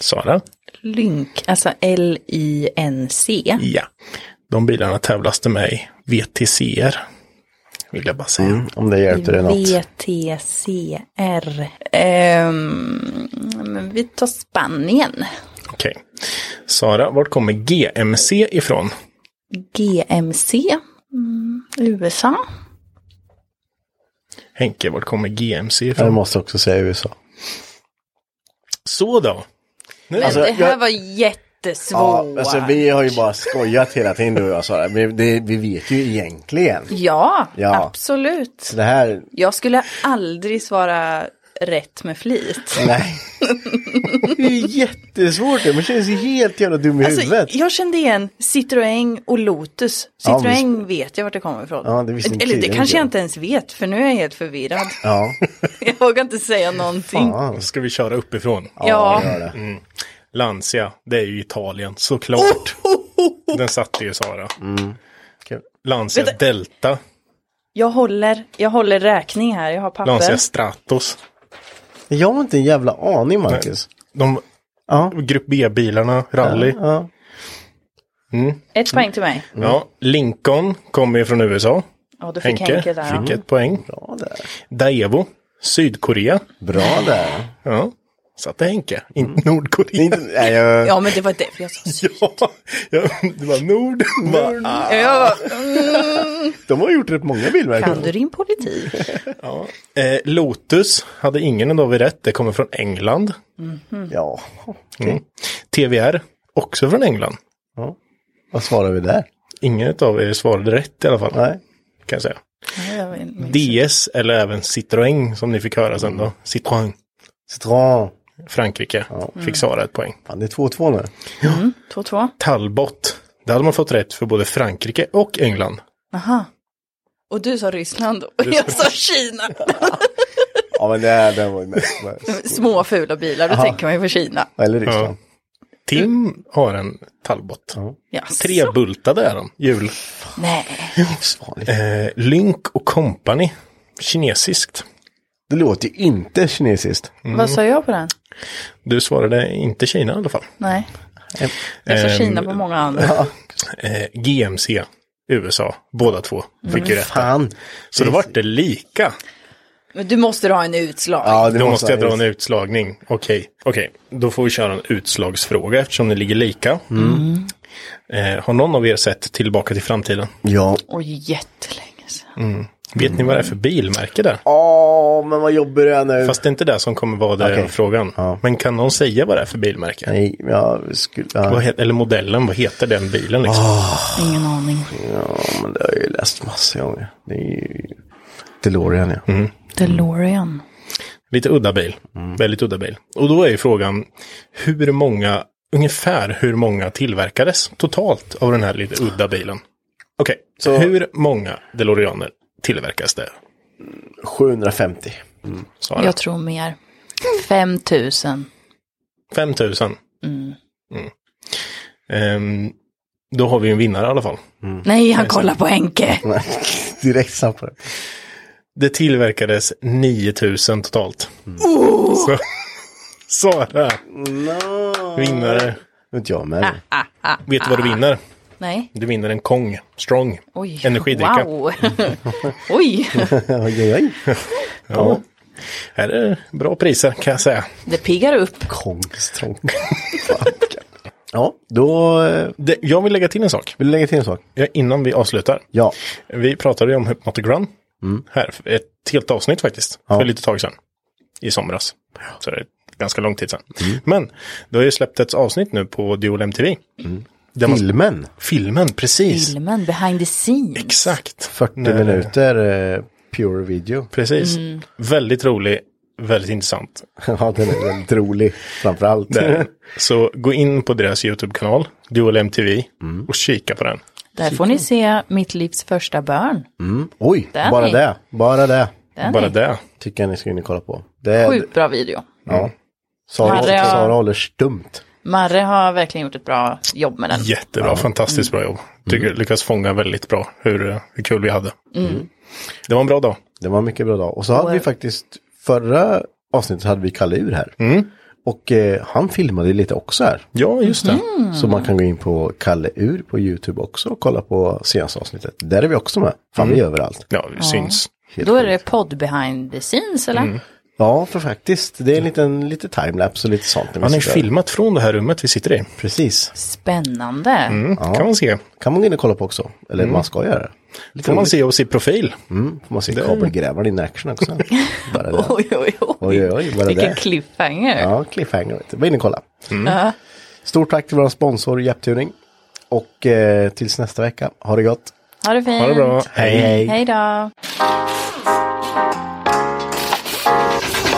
Sara? Lynk, alltså L-I-N-C. Ja. De bilarna tävlas det med i VTCR. Vill jag bara säga. Mm, Om det hjälpte dig något. VTCR. Ehm, men vi tar Spanien. Okej. Sara, vart kommer GMC ifrån? GMC. Mm, USA. Henke, vart kommer GMC Jag ifrån? måste också säga USA. Så då. Nu. Men det här alltså, jag- var jättesvårt. Ja, alltså vi har ju bara skojat hela tiden du och jag Sara. Vi, det, vi vet ju egentligen. ja, Ja. absolut. Så det här, Jag skulle aldrig svara rätt med flit. nej. det är jättesvårt det. Man känner sig helt jävla dum i Alltså, huvudet. jag kände igen Citroën och Lotus. Ja, Citroën vet jag vart det kommer ifrån. Ja, det visste inte Eller det tidigare, kanske inte jag. jag inte ens vet, för nu är jag helt förvirrad. Ja, Jag vågar inte säga någonting. fan. Ska vi köra uppifrån? Ja, Gör det. Lancia, det är ju Italien, såklart. Den satte ju Sara. Mm. Kul. Lancia Delta, jag håller, jag håller räkning här, jag har papper. Lancia Stratos. Jag har inte en jävla aning Marcus. De Ja. Grupp B-bilarna, rally. Ja. Ja. Ett poäng till mig. Lincoln kommer ju från USA. Ja, då fick Henke, Henke, där. ja. Mm. fick ett poäng. Bra där. Daewoo, Sydkorea. Bra där. Ja, satte Henke. Inte Nordkorea. Mm. Inte, nej, jag, Ja, men det var därför jag sa Ja, ja, det var Nord. Nord. Jag bara, de har gjort rätt många Kan du bilmärken. din politik? Eh, Lotus hade ingen ändå vid rätt. Det kommer från England. Mm. Ja, Mm. TVR, också från England. vad svarar vi där? Ingen av er svarade rätt i alla fall. Nej. Kan jag säga. Nej, jag vet inte. DS eller även Citroën som ni fick höra sen då. Citroën, Citroën. Frankrike. Fick Sara ett poäng. Fan, det är 2-2 nu. 2-2. Talbot. Det hade man fått rätt för både Frankrike och England. Aha. Och du sa Ryssland och jag sa Kina. Ja, men det här det här var ju mest. Små fula bilar, då tänker man ju på Kina. Eller Ryssland. Mm. Tim har en Talbot. Jaså? Trebultade är de, jul. Nej. Svarligt. Eh, Lynk och Company. Kinesiskt. Det låter ju inte kinesiskt. Vad sa jag på den? Du svarade inte Kina i alla fall. Nej. Eh, Jag sa Ehm, Kina på många andra. Eh, GMC, USA, båda två fick ju rätt. Fan. Så då vart det lika. Men du måste ha en utslag. Ja, det Då måste jag dra en nu. utslagning. Okej, okej. Då får vi köra en utslagsfråga eftersom ni ligger lika. Mm. Eh, har någon av er sett Tillbaka till framtiden? Ja. Och jättelänge sedan. Vet ni vad det är för Mm. bilmärke där? Åh, men vad jobbar det är nu? Fast det är inte det som kommer vara den Okej. frågan. Ja. Men kan någon säga vad det är för bilmärke? Nej, jag skulle... Vad Ja, he- eller modellen, vad heter den bilen liksom? Ah. Ingen aning. ja, men det har jag ju läst massor gånger. Det är ju... DeLorean, ja. Mm. DeLorean. Lite udda bil. Mm. Väldigt udda bil. Och då är ju frågan hur många, ungefär hur många tillverkades totalt av den här lite udda bilen? Okej, Så- hur många DeLoreaner tillverkas det? 750. Sara? Jag tror mer. 5000. 5000. Mm. Ehm, då har vi en vinnare i alla fall. Nej, han kollar på Henke. Direkt snabbt på det. Det tillverkades 9000 totalt. Så, Sara, vinnare. Vet inte jag med. Ah, Vet du vad du vinner? Nej. Du vinner en Kong Strong. Oj. Energidricka. Wow. Oj. ah. Oj, oj, oj. Ja. Här är bra priser kan jag säga. Det piggar upp. Kongstrång. ja, då eh, Det, jag vill lägga till en sak vill du lägga till en sak. ja, innan vi avslutar. Ja, Vi pratade ju om Hypnotic Run. Här, för ett helt avsnitt faktiskt. För lite tag sedan. I somras. Så det är ganska lång tid sedan. Men det har ju släppt ett avsnitt nu på Dual MTV. Där man, filmen. filmen, precis. Filmen, behind the scenes. Exakt. 40 Nej. minuter eh, pure video. Precis. Väldigt rolig, väldigt intressant. ja, den är väldigt rolig framförallt. Där. Så gå in på deras YouTube-kanal, Dual MTV, och kika på den. Där får ni se mitt livs första barn. Oj, Den bara är- det. Bara det. Den Bara är det. Tycker jag ni ska in och kolla på. Det är, sjukt bra video. ja. Sara, Hade jag- Sara håller stumt. Marre har verkligen gjort ett bra jobb med den. Jättebra, fantastiskt bra jobb. Tycker lyckas fånga väldigt bra hur, eh, hur kul vi hade. Mm. Det var en bra dag. Det var en mycket bra dag. Och så hade vi faktiskt förra avsnittet hade vi Kalle Ur här. Och eh, han filmade lite också här. Ja, just det. Så man kan gå in på Kalle Ur på YouTube också och kolla på senaste avsnittet. Där är vi också med. Fan, Mm. vi är överallt. Ja, det syns. Helt Då är sjukt. det podd behind the scenes eller? Ja, för faktiskt. Det är en liten lite timelapse och lite sånt. Han har ju filmat från det här rummet vi sitter i. Precis. Spännande. Mm, kan man se. Kan man gå in och kolla på också. Eller man ska göra det. Mm. Får man se oss i profil. Mm, får man se kabelgrävaren in action också. Bara det. Oj, oj, oj. Oj, oj, oj, bara Vilken det. cliffhanger. Ja, cliffhanger. vet du. Var inne och kolla. Mm. Stort tack till vår sponsor Japtuning. Och eh, tills nästa vecka, ha det gott. Ha det fint. Ha det bra. hej. Hej då.